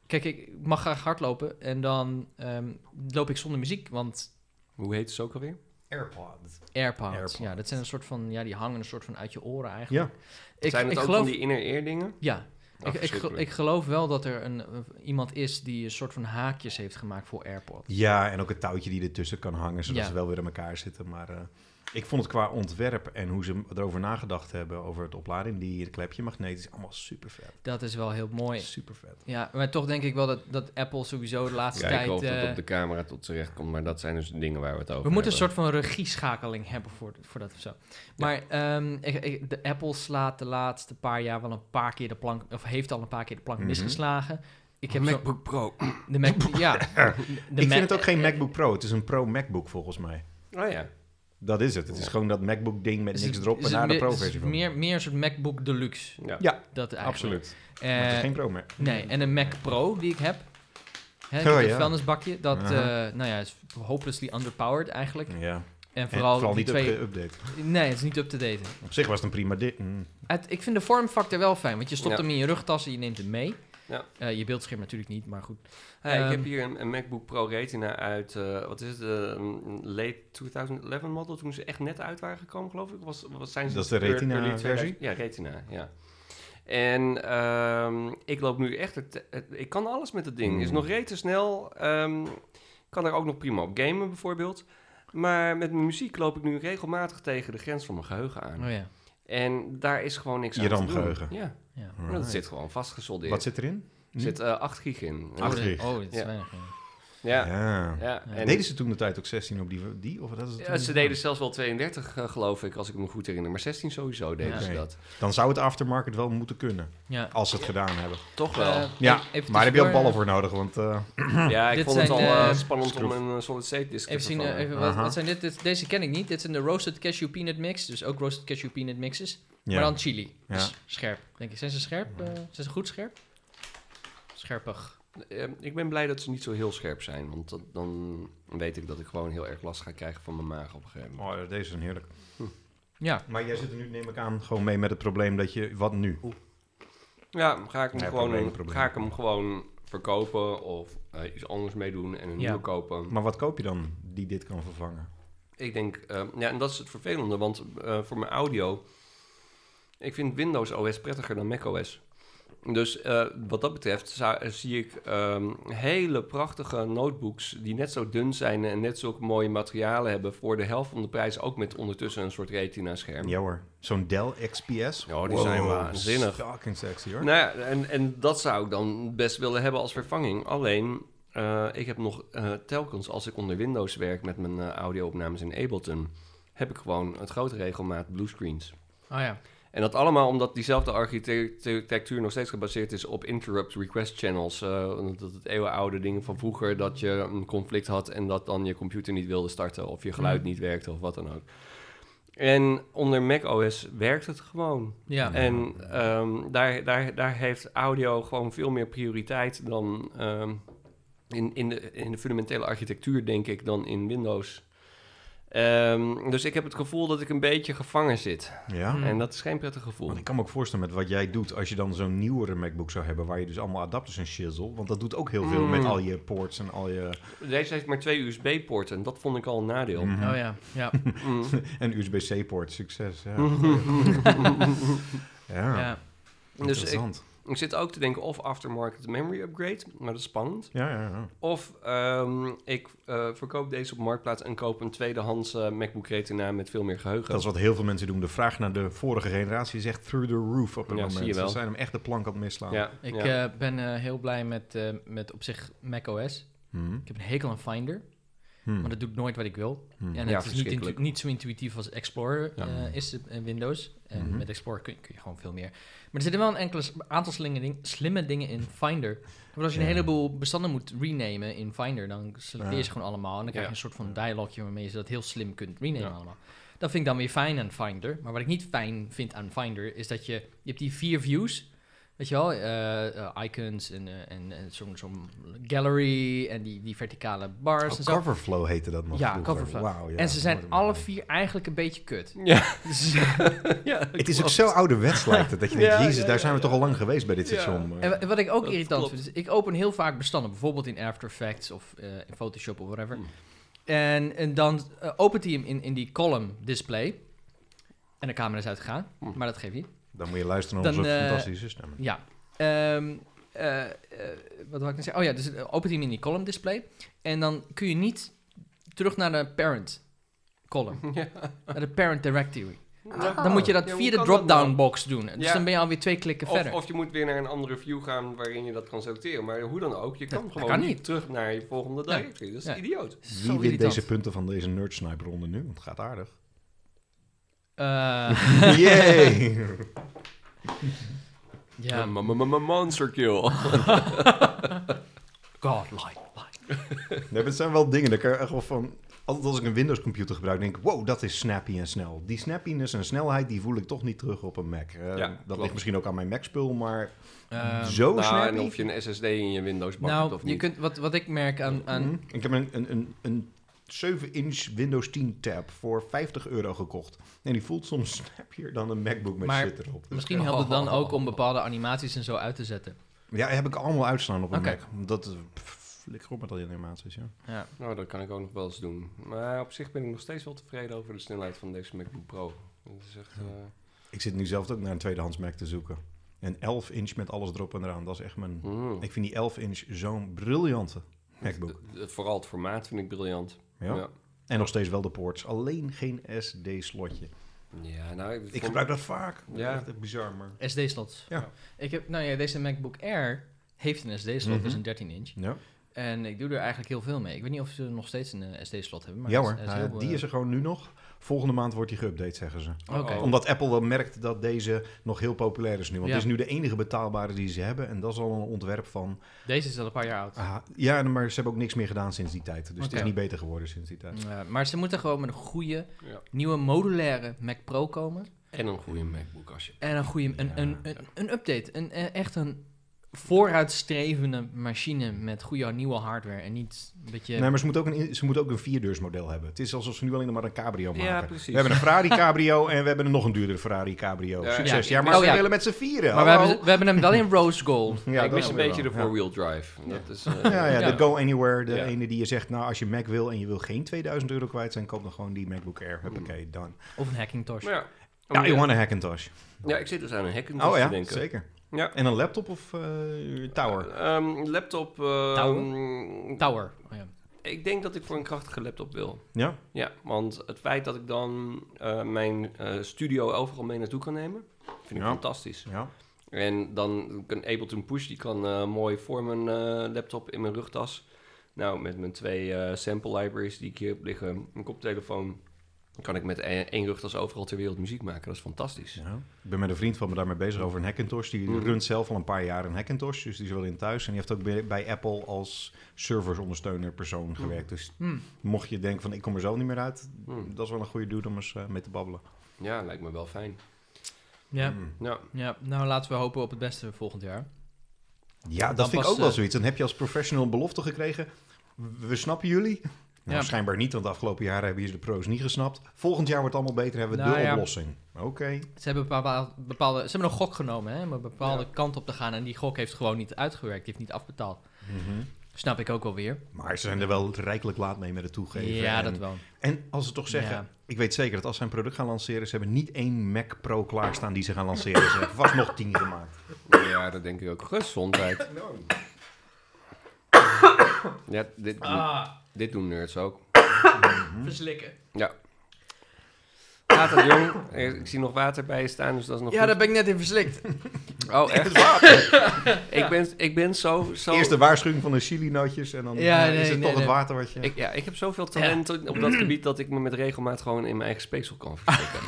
Kijk, ik mag graag hardlopen en dan ehm, loop ik zonder muziek, want Hoe heet ze ook alweer? AirPods. AirPods, AirPods. Ja, dat zijn een soort van, ja, die hangen een soort van uit je oren eigenlijk. Ja, ik, Zijn het ik ook geloof, van die inner ear dingen? Ja, Oh, ik, ik, verschrikkelijk. ik geloof wel dat er een, iemand is die een soort van haakjes heeft gemaakt voor AirPods. ja, en ook het touwtje die ertussen kan hangen, zodat Ja. ze wel weer in elkaar zitten. Maar eh, ik vond het qua ontwerp en hoe ze erover nagedacht hebben over het opladen, die klepje magneet, is allemaal super vet. Dat is wel heel mooi. Super vet. Ja, maar toch denk ik wel dat, dat Apple sowieso de laatste tijd... Kijken of dat eh, op de camera tot z'n recht komt. Maar dat zijn dus de dingen waar we het over we moeten een hebben. soort van regieschakeling hebben voor, voor dat of zo. Maar ehm, ik- ik- de Apple slaat de laatste paar jaar wel een paar keer de plank... Of heeft al een paar keer de plank Mhm. misgeslagen. Ik heb zo, MacBook Pro. Oh de [laughs] Mac... ja. De ik Mac- eh, vind het ook geen MacBook Pro, het is een Pro MacBook volgens mij. Oh ja. Dat is het. Het is gewoon dat MacBook ding met Oh. is niks eh, het- erop is en het daar de meer- is Pro-versie het van. Meer, meer een soort MacBook Deluxe. ja. Ja, Dat eigenlijk. absoluut. Eh, Maar het is geen Pro meer. Nee, en een Mac Pro die ik heb. Hè, ik Oh, heb een ja. vuilnisbakje. Dat, eh, Aha. nou ja, is hopelessly underpowered eigenlijk. Ja. En En vooral, vooral, die niet twee... update. Nee, het is niet up-to-date. Op zich was het een prima dit. mm. Het- ik vind de vormfactor wel fijn, want je stopt Ja. hem in je rugtas en je neemt hem mee. Ja. Eh, je beeldscherm natuurlijk niet, maar goed. Hey, ik Ehm, heb hier een, een MacBook Pro Retina uit, eh, wat is het, eh, een late 2011 model, toen ze echt net uit waren gekomen, geloof ik. Was, was, zijn ze Dat is de ear- Retina early versie? 2000? Ja, Retina, ja. En ehm, ik loop nu echt, het, het- ik kan alles met het ding. Is Mm. nog rete snel, ehm, kan er ook nog prima op gamen bijvoorbeeld. Maar met mijn muziek loop ik nu regelmatig tegen de grens van mijn geheugen aan. Oh ja. En daar is gewoon niks Je aan te doen. RAM-geheugen. Ja, ja. dat Alright. zit gewoon vastgesoldeerd. Wat zit erin? Er zit eh, 8 gig in. Oh, Acht dat- gig. oh, dat is Ja. weinig. ja. Ja, ja. En, Deden ze toen de tijd ook 16 op die? die of dat is het ja, ze deden zelfs wel 32, eh, geloof ik, als ik me goed herinner. Maar 16 sowieso deden Ja. ze Oké. dat. Dan zou het aftermarket wel moeten kunnen. Ja. Als ze het gedaan hebben. Toch wel. Eh, Ja, even- even maar daar heb je ook tussendoor, ballen voor nodig. Want eh, ja, ik dit vond het al zijn, eh, eh, spannend om schroef. een eh, solid state disc te Even zien, eh, vervangen. even, wat, Aha. wat zijn dit? dit? Deze ken ik niet. Dit zijn de Roasted Cashew Peanut Mix. Dus ook Roasted Cashew Peanut Mixes. ja. Maar dan chili. Ja. Dus scherp, denk ik. Zijn ze scherp? Eh, zijn ze goed scherp? Scherpig. Eh, ik ben blij dat ze niet zo heel scherp zijn. Want dat- dan weet ik dat ik gewoon heel erg last ga krijgen van mijn maag op een gegeven moment. Oh, deze zijn heerlijk. Ja. Maar jij zit er nu, neem ik aan, gewoon mee met het probleem dat je... Wat nu? Ja, ga ik hem, Ja, gewoon, eh, probleem, probleem. Ga ik hem gewoon verkopen of eh, iets anders mee doen en een Ja. nieuwe kopen. Maar wat koop je dan die dit kan vervangen? Ik denk, eh, ja, en dat is het vervelende, want eh, voor mijn audio, ik vind Windows OS prettiger dan Mac OS. Dus eh, wat dat betreft zou- zie ik ehm, hele prachtige notebooks die net zo dun zijn en net zulke mooie materialen hebben voor de helft van de prijs, ook met ondertussen een soort retina-scherm. Ja hoor, zo'n Dell XPS. Ja, die zijn waanzinnig. Fucking sexy hoor. Nou ja, en, en dat zou ik dan best willen hebben als vervanging. Alleen, eh, ik heb nog eh, telkens als ik onder Windows werk met mijn eh, audio-opnames in Ableton, heb ik gewoon het grote regelmaat bluescreens. Oh ja. En dat allemaal omdat diezelfde architectuur nog steeds gebaseerd is op interrupt request channels. eh, dat het eeuwenoude dingen van vroeger dat je een conflict had en dat dan je computer niet wilde starten of je geluid Mhm. niet werkte of wat dan ook. En onder macOS werkt het gewoon. Ja. En ehm, daar, daar, daar heeft audio gewoon veel meer prioriteit dan ehm, in, in, de, in de fundamentele architectuur, denk ik, dan in Windows. Ehm, dus ik heb het gevoel dat ik een beetje gevangen zit. Ja? Mm. En dat is geen prettig gevoel. Want ik kan me ook voorstellen met wat jij doet, als je dan zo'n nieuwere MacBook zou hebben, waar je dus allemaal adapters en shizzle, want dat doet ook heel veel Mm. met al je ports en al je... Deze heeft maar twee USB-poorten en dat vond ik al een nadeel. Mhm. Oh ja. Ja. Mm. [laughs] En USB-C port, succes. Ja, Mhm. [laughs] ja. ja. Dus interessant. Ik zit ook te denken of aftermarket memory upgrade, maar dat is spannend. Ja, ja, ja. Of ehm, ik eh, verkoop deze op Marktplaats en koop een tweedehands eh, MacBook Retina met veel meer geheugen. Dat is wat heel veel mensen doen. De vraag naar de vorige generatie is echt through the roof op het Ja, moment. zie je wel. Ze zijn hem echt de plank aan het misslaan. ja, Ik ja. eh, ben eh, heel blij met, eh, met op zich macOS. Hmm, Ik heb een hekel aan Finder, hmm, maar dat doet nooit wat ik wil. hmm. En Ja, het is niet, verschrikkelijk. intu- niet zo intuïtief als Explorer Ja. eh, is in Windows. En Mhm. met Explorer kun, kun je gewoon veel meer. Maar er zitten wel een enkele s- aantal slimme, ding- slimme dingen in Finder. Want als je een Ja. heleboel bestanden moet renamen in Finder, dan selecteer je Ja. ze gewoon allemaal. En dan krijg je Ja. een soort van dialoogje waarmee je dat heel slim kunt renamen Ja. allemaal. Dat vind ik dan weer fijn aan Finder. Maar wat ik niet fijn vind aan Finder is dat je... Je hebt die vier views, weet je wel? eh, eh, icons en, eh, en, en zo'n zo'n gallery en die, die verticale bars Oh, en zo. Coverflow heette dat nog Ja, vroeger. Coverflow. Wauw, en ja. ze Nooit zijn meer alle gedaan. vier eigenlijk een beetje [laughs] kut. [laughs] Ja. Dus- ja, Het is ook zo [laughs] ouderwets lijkt het, dat je Ja, denkt, jezus, ja, daar ja, zijn we ja. toch al lang geweest bij dit Ja. station. en wa- wat ik ook Dat irritant klopt. vind, is ik open heel vaak bestanden, bijvoorbeeld in After Effects of eh, in Photoshop of whatever. Hmm. En, en dan eh, opent hij hem in, in die column display. En de camera is uitgegaan, Hmm. maar dat geeft niet. Dan moet je luisteren naar Dan, onze eh, fantastische stemmen. Ja. Ehm, eh, eh, wat wil ik nou zeggen? Oh ja, dus eh, opent hij hem in die column display. En dan kun je niet terug naar de parent [laughs] column, Ja. naar de parent directory. Ja. Dan moet je dat Oh. Ja, hoe via de kan dat drop-down nou? box doen. Dus Ja. dan ben je alweer twee klikken Of, verder. of je moet weer naar een andere view gaan waarin je dat kan selecteren. Maar hoe dan ook, je kan dat gewoon kan niet. niet. terug naar je volgende Nee. directory. Dat is Nee. idioot. Zo Wie wint irritant. deze punten van deze nerd sniper ronde nu? Want het gaat [laughs] aardig. [laughs] Eh, Yay! ja, M- m- m- Monster kill. godlike. like. Nee, maar het zijn wel dingen. dat ik er echt wel van. Altijd als ik een Windows-computer gebruik, denk ik: wow, dat is snappy en snel. Die snappiness en snelheid die voel ik toch niet terug op een Mac. Eh, Ja, dat klopt. ligt misschien ook aan mijn Mac-spul, maar Ehm, zo nou, snappy. en of je een SSD in je Windows bakt nou, of je niet. kunt, wat, wat ik merk aan... aan Mhm. Ik heb een, een, een, een 7-inch Windows 10 tab voor 50 euro gekocht. En die voelt soms snappier dan een MacBook met Maar shit erop. Dus- Misschien helpt het dan ook om bepaalde animaties en zo uit te zetten. Ja, heb ik allemaal uitstaan op een Oké. Mac. Dat eh, pff, flikker op met al die animaties, ja. Ja. Nou, dat kan ik ook nog wel eens doen. Maar op zich ben ik nog steeds wel tevreden over de snelheid van deze MacBook Pro. Dat is echt... eh, Ik zit nu zelf ook naar een tweedehands Mac te zoeken. Een 11-inch met alles erop en eraan. Dat is echt mijn... mm. Ik vind die 11 inch zo'n briljante [laughs] MacBook. Het- het- vooral het formaat vind ik briljant. Ja. ja. En nog steeds wel de ports. Alleen geen SD-slotje. Ja, nou, ik, Ik vond- gebruik dat vaak. Ja. Echt bizar, maar... SD-slots. Ja. Ik heb, nou ja, deze MacBook Air heeft een SD-slot, Mhm. dus een 13-inch. Ja. En ik doe er eigenlijk heel veel mee. Ik weet niet of ze nog steeds een eh, SD-slot hebben. Maar ja het hoor, het eh, heel, die eh, is er gewoon nu nog. Volgende maand wordt die geüpdate, zeggen ze. Oké. Oh, oh. Omdat Apple wel merkt dat deze nog heel populair is nu. Want Ja. het is nu de enige betaalbare die ze hebben. En dat is al een ontwerp van... Deze is al een paar jaar oud. ah, ja, maar ze hebben ook niks meer gedaan sinds die tijd. Dus het is Oké. niet beter geworden sinds die tijd. Ja, Eh, maar ze moeten gewoon met een goede, Ja. nieuwe modulaire Mac Pro komen. En een goede MacBook als je... En een goede, een, Ja. een, een, een update. Een, eh, echt een vooruitstrevende machine met goede nieuwe hardware. En niet een beetje... Nee, maar ze moeten ook een, ze moeten ook een vierdeursmodel hebben. Het is alsof ze nu alleen nog maar een cabrio maken. precies. we hebben een Ferrari [laughs] cabrio en we hebben een nog een duurdere Ferrari cabrio. Ja, Succes. ja. Ja, maar Oh, we ja. willen met z'n vieren. maar we hallo. hebben, we hebben hem wel [laughs] in rose gold. Ja, ik dat mis een wel. beetje de Ja. four-wheel drive. Dat [laughs] is, eh, Ja, ja, Ja. de Go Anywhere, de Ja. ene die je zegt, nou als je Mac wil en je wil geen 2000 euro kwijt zijn, koop dan gewoon die MacBook Air. Huppakee, done. Of een Hackintosh. Maar ja. Ja, you want a Hackintosh. ja, ik zit dus aan een Hackintosh Oh te ja, denken. zeker. Ja. En een laptop of eh, tower? Ehm, laptop... ehm, Tower. Oh, ja. Ik denk dat ik voor een krachtige laptop wil. Ja? Ja, want het feit dat ik dan eh, mijn eh, studio overal mee naartoe kan nemen, vind ik Ja. fantastisch. Ja. En dan kan Ableton Push, die kan eh, mooi voor mijn eh, laptop in mijn rugtas. Nou, met mijn twee eh, sample libraries die ik hier heb liggen, een koptelefoon, kan ik met e- één rugtas overal ter wereld muziek maken. Dat is fantastisch. ja. Ik ben met een vriend van me daarmee bezig over een Hackintosh. Die Mhm. runt zelf al een paar jaar een Hackintosh, dus die is wel in thuis. En die heeft ook bij, bij Apple als serversondersteuner Mm. persoon gewerkt. Dus Hmm. mocht je denken van ik kom er zelf niet meer uit, Hmm. dat is wel een goede dude om eens eh, mee te babbelen. Ja, lijkt me wel fijn. Ja. Hmm. Ja, ja, nou laten we hopen op het beste volgend jaar. Ja, dat Dan vind ik pas, ook wel eh, zoiets. Dan heb je als professional een belofte gekregen. We snappen jullie. Nou, Ja. Schijnbaar niet, want de afgelopen jaren hebben jullie de pro's niet gesnapt. Volgend jaar wordt het allemaal beter, hebben we Nou de ja. oplossing. Oké. Ze hebben, bepaalde, bepaalde, ze hebben een gok genomen, hè, om een bepaalde Ja. kant op te gaan. En die gok heeft gewoon niet uitgewerkt, die heeft niet afbetaald. Mhm. Snap ik ook wel weer. Maar ze zijn er wel rijkelijk laat mee met het toegeven. ja, en, dat wel. en als ze toch zeggen, Ja. ik weet zeker dat als ze een product gaan lanceren, ze hebben niet één Mac Pro klaarstaan die ze gaan lanceren. Ze hebben vast nog tien gemaakt. ja dat denk ik ook. Gezondheid. Ja, dit, doen- Ah, dit doen nerds ook. Hm. verslikken. Ja. Water, jong. Eh, Ik zie nog water bij je staan, dus dat is nog Ja, goed. daar ben ik net in verslikt. [laughs] [laughs] Oh, echt? ik, ben, ik ben zo... zo... Eerst de waarschuwing van de chili-nootjes en dan Ja, eh, is nee, het nee, toch het nee. water wat je... ik, ja, ik heb zoveel talent op dat gebied dat ik me met regelmaat gewoon in mijn eigen speeksel kan verstikken.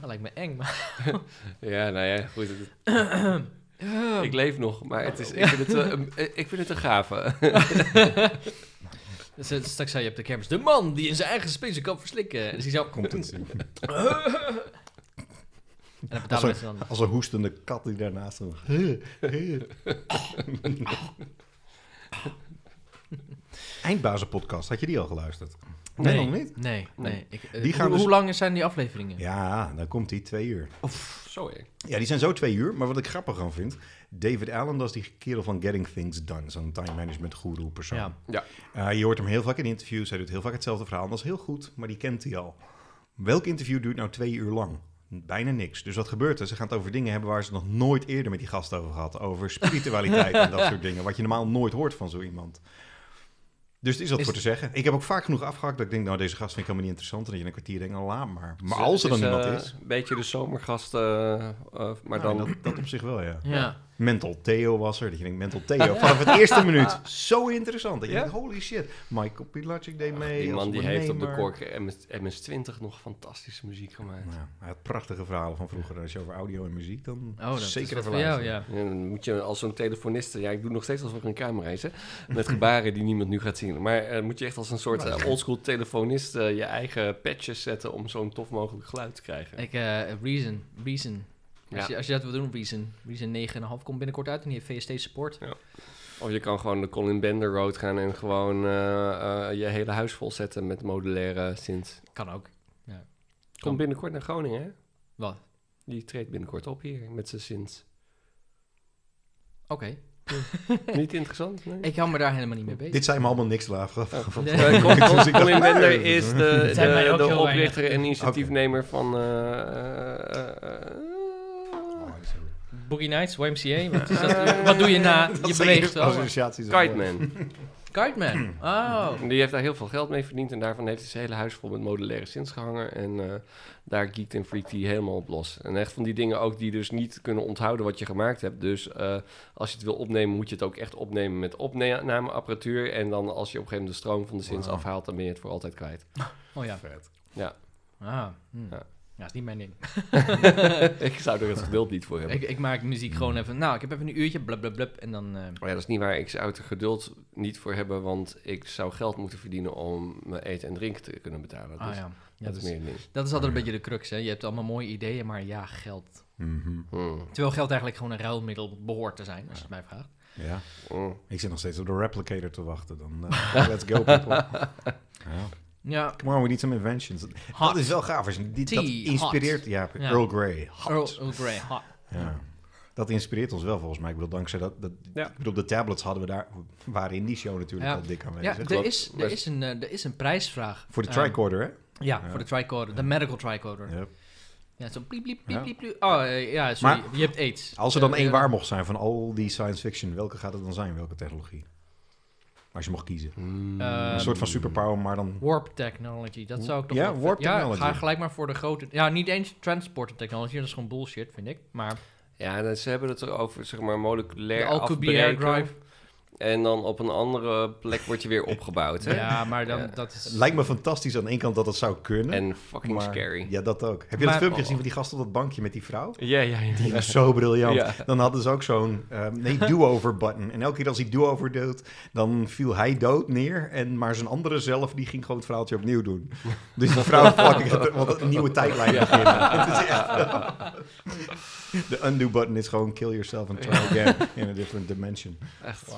Dat lijkt me eng, maar... Ah. ja, nou ja, goed. het- ik leef nog, maar het is, ik, vind het, eh, een- eh, ik vind het een gave. [laughs] Dus, eh, straks zei je op de kermis, de man die in zijn eigen space kan verslikken. Dus ik zou... Komt het. En dat Als betalen een, mensen dan... als een hoestende kat die daarnaast... zo- Eindbazenpodcast, had je die al geluisterd? Nee, nog niet. Oh. Nee, nee. Ik, eh, Die gaan hoe, dus- hoe lang zijn die afleveringen? Ja, dan komt die twee uur. zo, hè. Ja, die zijn zo twee uur. Maar wat ik grappig aan vind, David Allen, dat is die kerel van Getting Things Done. Zo'n time management guru persoon. Ja. Ja. Eh, je hoort hem heel vaak in interviews. Hij doet heel vaak hetzelfde verhaal. En dat is heel goed, maar die kent hij al. Welk interview duurt nou twee uur lang? Bijna niks. Dus wat gebeurt er? Ze gaan het over dingen hebben waar ze nog nooit eerder met die gast over gehad. Over spiritualiteit en dat soort dingen. Wat je normaal nooit hoort van zo iemand. Dus er is wat Is- voor te zeggen. Ik heb ook vaak genoeg afgehakt dat ik denk, nou deze gast vind ik helemaal niet interessant. En dat je in een kwartier denkt, nou laat maar. Maar Dus, als er dan het iemand eh, is, Een beetje de zomergast, eh, eh, maar nou, dan... dat, dat op zich wel, ja. Ja. Mental Theo was er. Dat je denkt, Mental Theo. Vanaf het eerste minuut. Zo interessant. Dat je Ja? denkt, holy shit. Michael Pilacic deed Ach, mee. die als man die heeft op de ondernemer. kork MS, MS-20 nog fantastische muziek gemaakt. Ja, hij had prachtige verhalen van vroeger. Als je over audio en muziek, dan Oh, dat zeker is wat even voor jou, luisteren. ja. En dan moet je als zo'n telefoniste, ja, ik doe nog steeds alsof er een camera is, hè, met gebaren die niemand nu gaat zien. Maar eh, moet je echt als een soort eh, oldschool telefonist eh, je eigen patches zetten om zo'n tof mogelijk geluid te krijgen. Ik, dus eh, Reason. Reason. Als, Ja. je, als je dat wil doen, Reason. Reason 9,5 komt binnenkort uit en die heeft VST support. Of je kan gewoon de Colin Bender road gaan en gewoon eh, eh, je hele huis vol zetten met modulaire synths. Kan ook. Komt binnenkort naar Groningen, hè? Wat? Die treedt binnenkort op hier met zijn synths. Oké. Niet interessant, nee? Ik hou me daar helemaal niet mee bezig. Dit zijn me allemaal niks Oh, laag. [laughs] Nee. Eh, Col- dus Col- Colin Bender is de, de, zijn mij ook de heel oprichter en initiatiefnemer van... eh, eh, eh, [laughs] Boogie Nights, YMCA. Wat, is dat? wat doe je na? Je beweegt wel. Oh, associaties. Kite Man. Cartman. [clears throat] Oh. Die heeft daar heel veel geld mee verdiend en daarvan heeft hij zijn hele huis vol met modulaire synths gehangen. En eh, daar geekt en freakt hij helemaal op los. En echt van die dingen ook die dus niet kunnen onthouden wat je gemaakt hebt. Dus eh, als je het wil opnemen, moet je het ook echt opnemen met opnameapparatuur. En dan als je op een gegeven moment de stroom van de synths Wauw. afhaalt, dan ben je het voor altijd [laughs] kwijt. [laughs] Oh ja. Ja. Ah. hm. Ja. Ja. dat is niet mijn ding. ik zou er het geduld niet voor hebben. Ik, ik maak muziek gewoon even. Nou, ik heb even een uurtje, blub blub blub. En dan. eh, Ah, Maar ja, dat is niet waar. Ik zou het geduld niet voor hebben, want ik zou geld moeten verdienen om mijn eten en drinken te kunnen betalen. Dus ah ja. ja dat dus- is meer niet. dat is altijd een beetje de crux. Hè. Je hebt allemaal mooie ideeën, maar ja, geld. Mhm. Hmm. Terwijl geld eigenlijk gewoon een ruilmiddel behoort te zijn, als je het mij vraagt. Ja. Hmm. Ik zit nog steeds op de replicator te wachten. Dan, [laughs] eh, let's go, people. Ja. Ja, Come on, we need some inventions. hot. Dat is wel gaaf. Als je, die, dat Tea, inspireert... hot. Ja, Ja. Earl Grey. Hot. Earl, Earl Grey, Oh, hot. Ja. Dat inspireert ons wel volgens mij. Ik bedoel, dankzij dat... dat Ja. Ik bedoel, de tablets hadden we daar... waren in die show natuurlijk Ja. al dik Ja, aanwezig. er Klopt. is, er, is een, eh, er is een prijsvraag. Voor de Eh, tricorder, hè? ja, Ja. voor de tricorder. De medical tricorder. Ja. Ja, zo bliep, bliep, Ja. bliep, bliep, bliep. Oh, eh, ja, sorry. Maar- je hebt aids. Als er dan Eh, één eh, waar mocht zijn van al die science fiction, welke gaat het dan zijn? Welke technologie? Als je mocht kiezen. Eh, Hmm. Een soort van superpower, maar dan... Warp technology, dat zou ik toch Ja, wel- warp Ja, technology. ga gelijk maar voor de grote... Ja, niet eens transport technology, dat is gewoon bullshit, vind ik. Maar Ja, dat- ze hebben het erover, zeg maar, moleculair de Alcubierre afbreken. drive... En dan op een andere plek word je weer opgebouwd, hè? Ja, maar dan, Ja. dat is... Lijkt me fantastisch aan de ene kant dat dat zou kunnen. En fucking maar- scary. Ja, dat ook. Heb je Maar- dat filmpje gezien van die gast op dat bankje met die vrouw? Ja, ja, ja. Die was zo briljant. Ja. Dan hadden ze ook zo'n ehm, nee, do-over button. En elke keer als hij do-over deed, dan viel hij dood neer. En maar zijn andere zelf, die ging gewoon het verhaaltje opnieuw doen. Dus die vrouw fucking het- want een nieuwe tijdlijn beginnen. Het is echt- De undo button is gewoon kill yourself and try again in a different dimension. Echt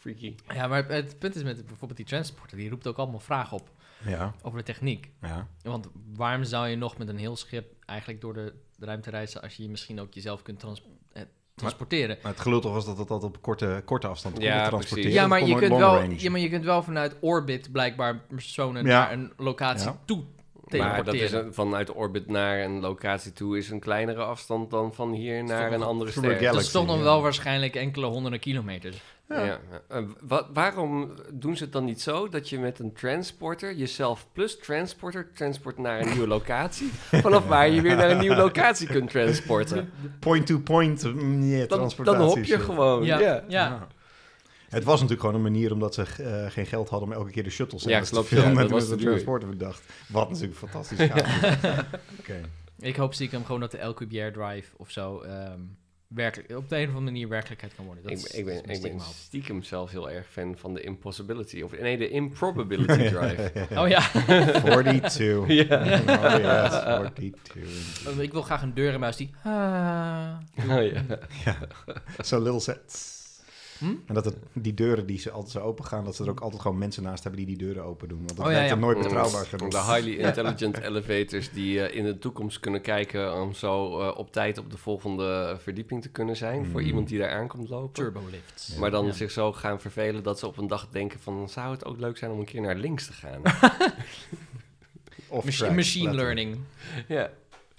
freaky. Ja, maar het punt is met bijvoorbeeld die transporter, die roept ook allemaal vragen op Ja, over de techniek. ja. Want waarom zou je nog met een heel schip eigenlijk door de ruimte reizen als je misschien ook jezelf kunt trans- eh, transporteren? Maar het gelul toch was dat dat altijd op korte, korte afstand kon Ja, je precies. transporteren. Ja Dat maar, kon je nooit kunt long wel, range. ja, maar je kunt wel vanuit orbit blijkbaar personen Ja. naar een locatie Ja. toe Maar dat is teleporteren. een- vanuit orbit naar een locatie toe is een kleinere afstand dan van hier is toch naar een nog- andere through a ster. galaxy. Dat is toch nog ja. wel waarschijnlijk enkele honderden kilometers. Ja. Eh, wa- waarom doen ze het dan niet zo dat je met een transporter, jezelf plus transporter, transport naar een nieuwe [laughs] locatie, vanaf waar je weer naar een nieuwe locatie kunt transporten? Point-to-point mm, ja, Dan, dan transportatie. hop is je het. gewoon. Ja, ja. Oh, Ja. Het was natuurlijk gewoon een manier omdat ze eh, geen geld hadden om elke keer de shuttles Ja, en dat te klopt, ja, filmen. dat en toen was is de te duur. transporter bedacht. Wat natuurlijk fantastisch gaaf is. Oké. Ik hoop stiekem gewoon dat de LQBR drive of zo ehm, werkelijk, op de een of andere manier werkelijkheid kan worden. Dat Ik, is- ben- ik dat ben, is ik ben mijn stiekem zelf heel erg fan van de impossibility. Of nee, de [laughs] improbability [laughs] drive. [laughs] stiekem hoop. Oh ja, 42. Ja. Oh yes, 42. Eh, [laughs] ik wil graag een deur en muis die... Ah. [laughs] Oh, ja. Zo'n little set. Hm? En dat het, die deuren die ze altijd zo open gaan, dat ze er ook altijd gewoon mensen naast hebben die die deuren open doen. Want Oh, dat ja, lijkt ja. hem nooit betrouwbaar genoeg. De [laughs] highly intelligent elevators die eh, in de toekomst kunnen kijken om zo eh, op tijd op de volgende verdieping te kunnen zijn. Voor Mm. iemand die daar aankomt lopen. Turbolifts. Maar dan Ja. zich zo gaan vervelen dat ze op een dag denken van... zou het ook leuk zijn om een keer naar links te [laughs] gaan? Off Machi- track, machine letterlijk. learning. ja.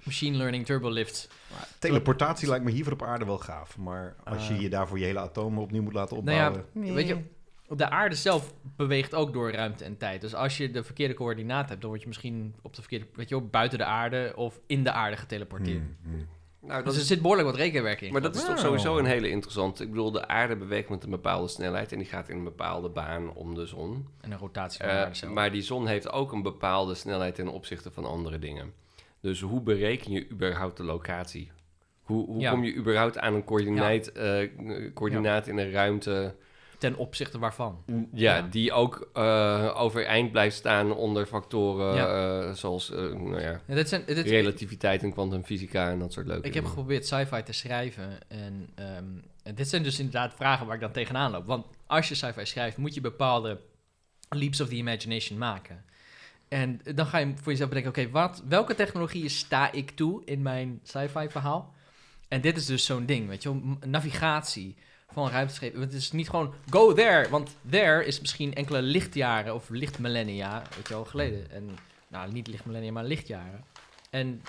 Machine learning turbolifts. Maar Teleportatie lijkt me hier voor op aarde wel gaaf. Maar als je Ah. je daarvoor je hele atomen opnieuw moet laten Nou opbouwen. ja, weet je, de aarde zelf beweegt ook door ruimte en tijd. Dus als je de verkeerde coördinaten hebt, dan word je misschien op de verkeerde, weet je wel, buiten de aarde of in de aarde geteleporteerd. Hmm, hmm. Nou, dat Dus er is, zit behoorlijk wat rekenwerk in. maar dat is toch Wow. sowieso een hele interessante... Ik bedoel, de aarde beweegt met een bepaalde snelheid... en die gaat in een bepaalde baan om de zon. En een rotatie van de Eh, aarde zelf. maar die zon heeft ook een bepaalde snelheid ten opzichte van andere dingen. Dus hoe bereken je überhaupt de locatie? Hoe, hoe Ja. kom je überhaupt aan een coördinaat, eh, coördinaat in een ruimte Ten opzichte waarvan? ja, Ja. die ook eh, overeind blijft staan onder factoren eh, zoals eh, nou ja, Ja, dit zijn, dit, relativiteit en kwantumfysica en dat soort leuke ik heb dingen. geprobeerd sci-fi te schrijven. En, ehm, en dit zijn dus inderdaad vragen waar ik dan tegenaan loop. Want als je sci-fi schrijft, moet je bepaalde leaps of the imagination maken. En dan ga je voor jezelf bedenken: oké, wat, welke technologieën sta ik toe in mijn sci-fi verhaal? En dit is dus zo'n ding, weet je wel, m- navigatie van ruimteschepen. Want Het is niet gewoon go there, want there is misschien enkele lichtjaren of lichtmillennia, weet je wel, geleden. En nou, niet lichtmillennia, maar lichtjaren. En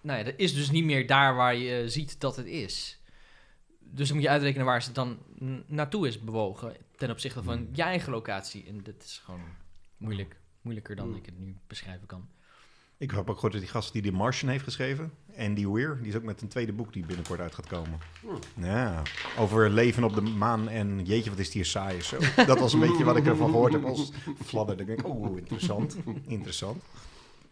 nou ja, dat is dus niet meer daar waar je eh, ziet dat het is. Dus dan moet je uitrekenen waar ze dan n- naartoe is bewogen ten opzichte van je eigen locatie. En dat is gewoon moeilijk. Moeilijker dan Hmm. ik het nu beschrijven kan. Ik hoop ook goed dat die gast die de Martian heeft geschreven, Andy Weir, die is ook met een tweede boek die binnenkort uit gaat komen. Hmm. Ja, over leven op de maan en jeetje, wat is het hier saai. Zo. Dat was een beetje wat ik ervan gehoord heb als fladder. Ik denk, oh, interessant, interessant.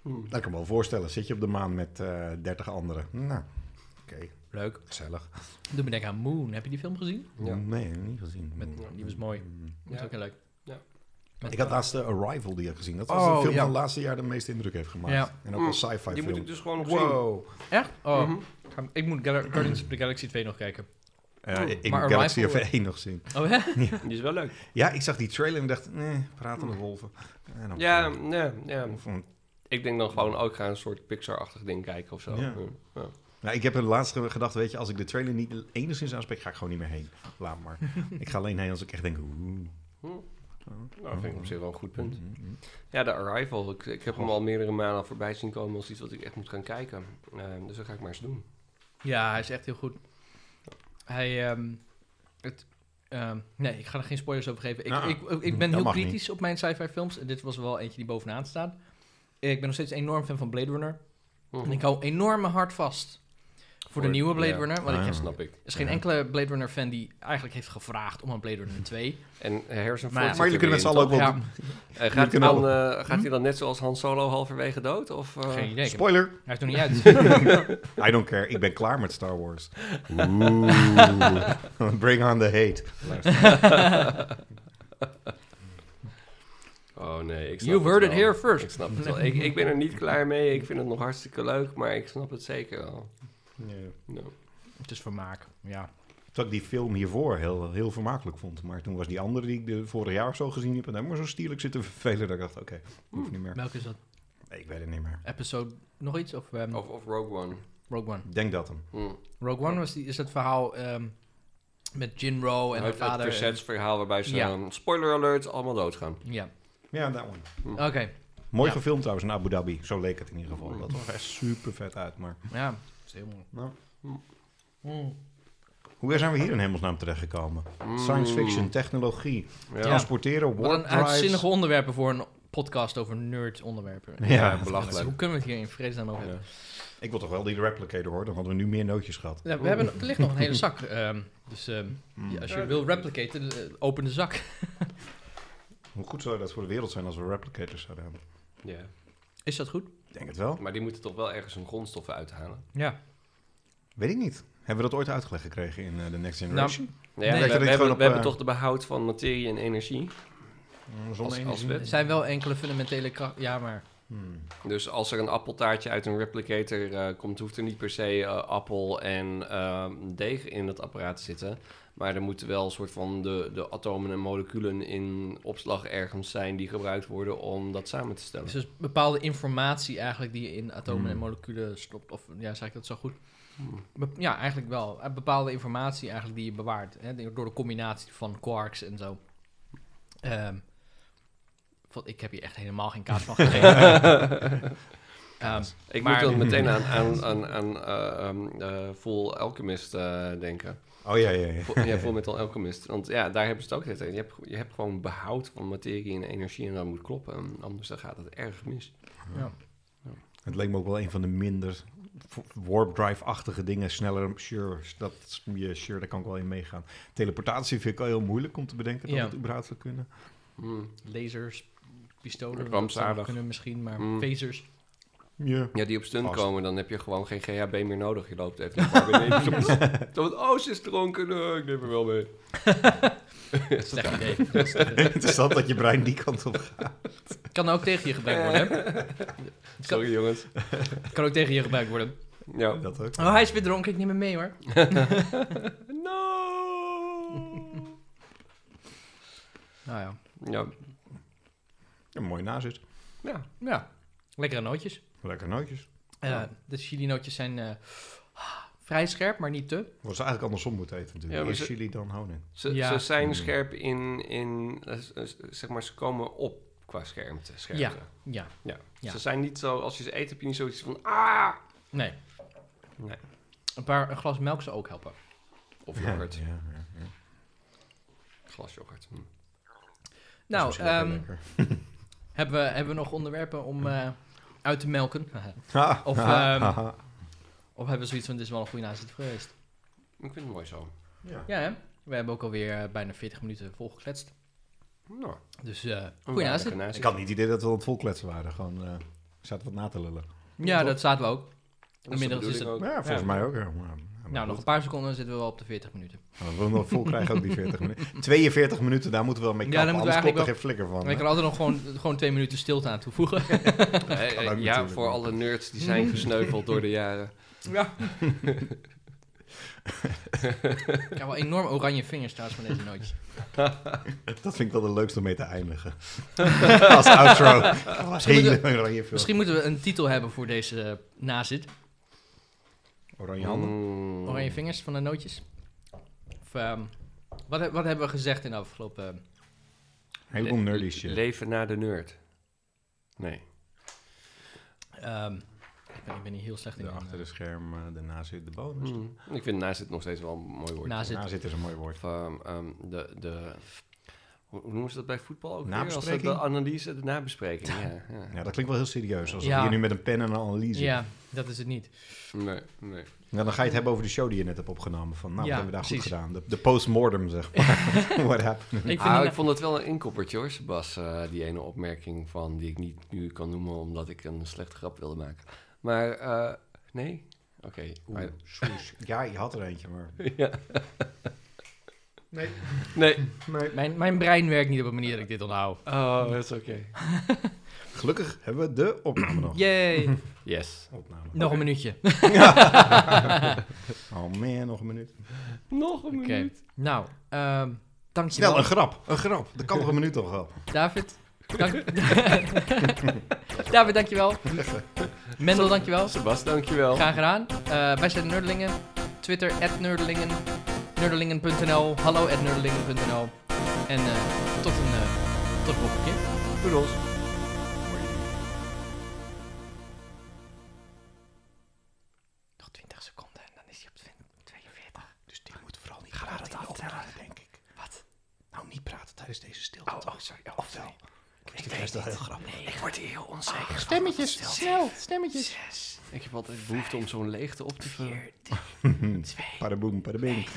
Dat kan ik me wel voorstellen. Zit je op de maan met eh 30 anderen? Nou, oké, Leuk. gezellig. Doe me denken aan Moon. Heb je die film gezien? Ja. Nee, niet gezien. Hmm. Met- nou, die was mooi. Dat is Ja. ook heel leuk. Ja. Met- eh, Ik had laatst de Arrival die ik gezien. Dat was Oh, de film ja. van de laatste jaar de meeste indruk heeft gemaakt. Ja. Hmm. En ook als sci-fi Die film. moet ik dus gewoon nog zien. wow. Echt? Oh, Mhm. ga- ik moet Gal- Guardians of the Galaxy 2 nog kijken. Ja, ik ik Maar moet Galaxy of Arrival- 1 nog zien. Oh, hè? Die is wel leuk. Ja, ik zag die trailer en dacht, nee, pratende wolven. En dan- Ja, nee, ja. Of een- Ik denk dan gewoon ook ga een soort Pixar-achtig ding kijken of zo. Hmm. Ja. Ja. Nou, ik heb er laatst ge- gedacht, weet je, als ik de trailer niet enigszins aanspreek, ga ik gewoon niet meer heen. Laat maar. ik ga alleen heen als ik echt denk, oeh. Nou, dat Oh. vind ik op zich wel een goed punt. Ja, de Arrival. Ik, ik heb hem al meerdere malen voorbij zien komen als iets wat ik echt moet gaan kijken. Eh, dus dat ga ik maar eens doen. Ja, hij is echt heel goed. Hij, ehm, het, ehm, nee, ik ga er geen spoilers over geven. Ik, Nou, ik, ik, ben dat heel mag kritisch op mijn sci-fi films. Dit was wel eentje die bovenaan staat. Ik ben nog steeds enorm fan van Blade Runner. Hm. En ik hou enorm mijn hart vast voor, de Voor- nieuwe Blade ja. Runner. Want Ah, ik Mhm. ja. heb, Dat snap ik. er is geen Ja. enkele Blade Runner fan die eigenlijk heeft gevraagd om een Blade Runner 2. En eh, Harrison Maar- Ford Maar jullie kunnen met z'n allen ook wel... Ja, Eh, gaat, hij kunnen dan, eh, gaat hij dan net zoals Han Solo halverwege dood? Of, eh, geen idee. Ik heb- Spoiler! Hij is nog niet [laughs] uit. I don't care, ik ben klaar met Star Wars. Oeh. Bring on the hate. Oh nee, ik snap You heard het it wel. here first. Ik snap het wel. Ik, ik ben er niet klaar mee. Ik vind het nog hartstikke leuk, maar ik snap het zeker wel. Ja. Ja. Het is vermaak, ja. Terwijl ik die film hiervoor heel, heel vermakelijk vond. Maar toen was die andere die ik de vorig jaar of zo gezien heb... en daar maar zo stierlijk zitten vervelen... dat ik dacht, oké, hoeft niet meer. Welke is dat? Nee, ik weet het niet meer. Episode nog iets? Of, ehm, Of, of Rogue One. Rogue One? Ik denk dat hem. Hm. Rogue One was die, is dat verhaal ehm, met Jinro en Het, haar het vader. eh, Versets verhaal waarbij ze, Ja. ehm, spoiler alert, allemaal doodgaan. Ja, Ja, dat one. oké. Mooi Ja. gefilmd trouwens in Abu Dhabi. Zo leek het in ieder geval. Dat zag echt super vet uit. Maar Ja, dat is heel mooi. nou, Hmm. hoe zijn we hier in hemelsnaam terechtgekomen? Mm. Science fiction, technologie, Ja. Ja. transporteren, Wat een warp drives. uitzinnige onderwerpen voor een podcast over nerd onderwerpen. Ja, belachelijk. Hoe kunnen we het hier in vredesnaam over Ja. hebben? Ik wil toch wel die replicator hoor. Dan hadden we nu meer nootjes gehad. Ja, we hebben, er ligt nog een hele zak. ehm, dus ehm, ja, als je wil replicaten, eh, open de zak. Hoe goed zou dat voor de wereld zijn als we replicators zouden hebben? Ja. Is dat goed? Ik denk het wel. Maar die moeten toch wel ergens hun grondstoffen uithalen. Ja. Weet ik niet. Hebben we dat ooit uitgelegd gekregen in eh, The Next Generation? Nou ja, Nee. we, Lijkt er we niet hebben, gewoon we op, hebben eh, toch de behoud van materie en energie. Mm, Als- als Zonne-energie. Er wet. zijn wel enkele fundamentele krachten. Ja, maar Hmm. Dus als er een appeltaartje uit een replicator eh, komt, hoeft er niet per se eh, appel en ehm, deeg in het apparaat te zitten. Maar er moeten wel een soort van de, de atomen en moleculen in opslag ergens zijn die gebruikt worden om dat samen te het stellen. is dus bepaalde informatie eigenlijk die je in atomen en Hmm. moleculen stopt. Of ja, zeg ik dat zo goed? Be- Ja, eigenlijk wel. Eh, Bepaalde informatie eigenlijk die je bewaart. Hè, de- door de combinatie van quarks en zo. Ehm, van- ik heb hier echt helemaal geen kaas van [laughs] gegeven. Ehm, Ik Maar- moet dan meteen aan, aan, aan, aan eh, ehm, eh, Full Alchemist eh, denken. Oh ja, ja, [laughs] ja. Full, ja, Full Metal Alchemist. Want ja, daar hebben ze het ook tegen. Je hebt, je hebt gewoon behoud van materie en energie en dat moet kloppen. Anders dan gaat het erg mis. ja. Het leek me ook wel een van de minder v- warp drive-achtige dingen. Sneller, sure, dat, is- ja, sure, daar kan ik wel in meegaan. Teleportatie vind ik al heel moeilijk om te bedenken dat Ja. het überhaupt zou kunnen. Hmm. Lasers, pistolen. dat Rampzalig. zou Kunnen misschien, maar Mm. [laughs] phasers. Ja. [laughs] Ja, die op stunt Vast. komen, dan heb je gewoon geen GHB meer nodig. Je loopt even naar de bar beneden. Zo van, oh, ze is dronken. Eh, ik neem er wel mee. Slecht idee. Dat is echt- Interessant dat je brein die kant op gaat. Het kan ook tegen je gebruikt worden. hè? Het kan, Sorry, jongens. het kan ook tegen je gebruikt worden. Ja. Dat ook. Oh, hij is weer dronken. Ik neem hem mee hoor. [laughs] No! Nou ja. Ja. Ja, mooi nazit. ja. Ja. Lekkere nootjes. Lekker nootjes. Eh, Ja. De chili-nootjes zijn eh, vrij scherp, maar niet te. Wat ze eigenlijk andersom moeten eten Ja, natuurlijk. maar Eerst ze- chili, dan honing. Ze, Ja. ze zijn Hmm. scherp in, in eh, s- eh, zeg maar, ze komen op qua schermte. scherpte. Ja. Ja, Ja. Ze zijn niet zo, als je ze eet, heb je niet zoiets van, ah! nee. Nee. Een paar een glas melk zou ook helpen. [laughs] Of yoghurt. Ja, ja, ja. Glas yoghurt. Hm. Dat Nou, is misschien ook wel ehm, lekker. hebben, we, hebben we nog onderwerpen om eh, uit te melken? [laughs] Ha, of, ha, ehm, ha, ha. of hebben we zoiets van, dit is wel een goede nazit geweest? Ik vind het mooi zo. Ja. Ja, hè? We hebben ook alweer eh, bijna 40 minuten volgekletst. Nou, Dus eh een goede waardige nazit. Ik nazit. had niet het idee dat we aan het volkletsen waren. Gewoon, eh ik zat wat na te lullen. Ja, dat zaten we ook. Dat is de Inmiddels is bedoeling het... ook. Maar ja, volgens Ja. mij ook. Ja. Maar- maar Nou, goed. nog een paar seconden en zitten we wel op de 40 minuten. Maar We willen nog vol krijgen ook die 40 minuten. 42 minuten, daar moeten we wel mee Ja, kappen. daar moeten we anders komt er eigenlijk geen flikker van. Maar ik hè? kan altijd nog gewoon, [laughs] gewoon twee minuten stilte aan toevoegen. Eh, eh, kan ook ja, natuurlijk. voor alle nerds die zijn gesneuveld door [laughs] de jaren. Ja. ik heb wel enorm oranje vingers trouwens van deze nootjes. Dat vind ik wel de leukste om mee te [laughs] eindigen. Als outro. Als hele oranje film. Misschien moeten we een titel hebben voor deze eh, nazit. Oranje handen. Mm. Oranje vingers van de nootjes. Of, ehm, wat, he- wat hebben we gezegd in de afgelopen... Een heleboel nerdy Le- shit. Leven naar de nerd. Nee. ehm, ik, ben, ik ben hier heel slecht in. De achter de scherm, eh, daarna zit de bonus. Hmm. Mm. Ik vind naast het nog steeds wel een mooi woord. Naast- Daarna zit is een mooi woord. Of ehm, ehm, de, de, hoe hoe noemen ze dat bij voetbal ook weer? Als Nabespreking? dat de analyse, de nabespreking. Ja, ja. Ja, dat klinkt wel heel serieus. Als Ja. we hier nu met een pen en een analyse. Ja, dat is het [laughs] niet. Nee, nee. Nou, dan ga je het hebben over de show die je net hebt opgenomen. Van, nou, Ja, wat hebben we daar precies. goed gedaan? De, de postmortem, zeg [laughs] maar. What happened? Ik vind Ah, die- ik vond het wel een inkoppertje hoor, Sebas. eh, die ene opmerking van die ik niet nu kan noemen omdat ik een slechte grap wilde maken. Maar eh, nee? Oké. Oeh, maar- sjoes. Ja, je had er eentje, maar... [laughs] ja. Nee. Nee. nee. mijn, mijn brein werkt niet op een manier dat ik dit onthoud. Oh, dat is oké. Gelukkig hebben we de opname nog. Yay! [laughs] Yes. Opname. Nog een minuutje. Oh man, nog een minuut. Nog een Oké. Nou, ehm dankjewel. Snel, een grap. Een grap. Dat kan nog een minuut toch wel. David. Dank... [laughs] David, dankjewel. Mendel, dankjewel. Sebas, dankjewel. Graag gedaan. Eh, wij zijn de Nerdelingen. Twitter, at Nerdelingen. Nerdelingen.nl. Hallo, at Nerdelingen.nl. En eh, tot een eh, tot een volgende keer. Doedels. Nog 20 seconden en dan is hij op 42. Dus die moet vooral niet Ga praten dat denk ik. Wat? Nou, niet praten tijdens deze stilte. Oh, oh, sorry. Oh, sorry. ik is dat heel grappig. Ik word hier heel onzeker. Stemmetjes, snel, stemmetjes. [laughs] Ik heb altijd behoefte om zo'n leegte op te vullen. Padaboom, padabing.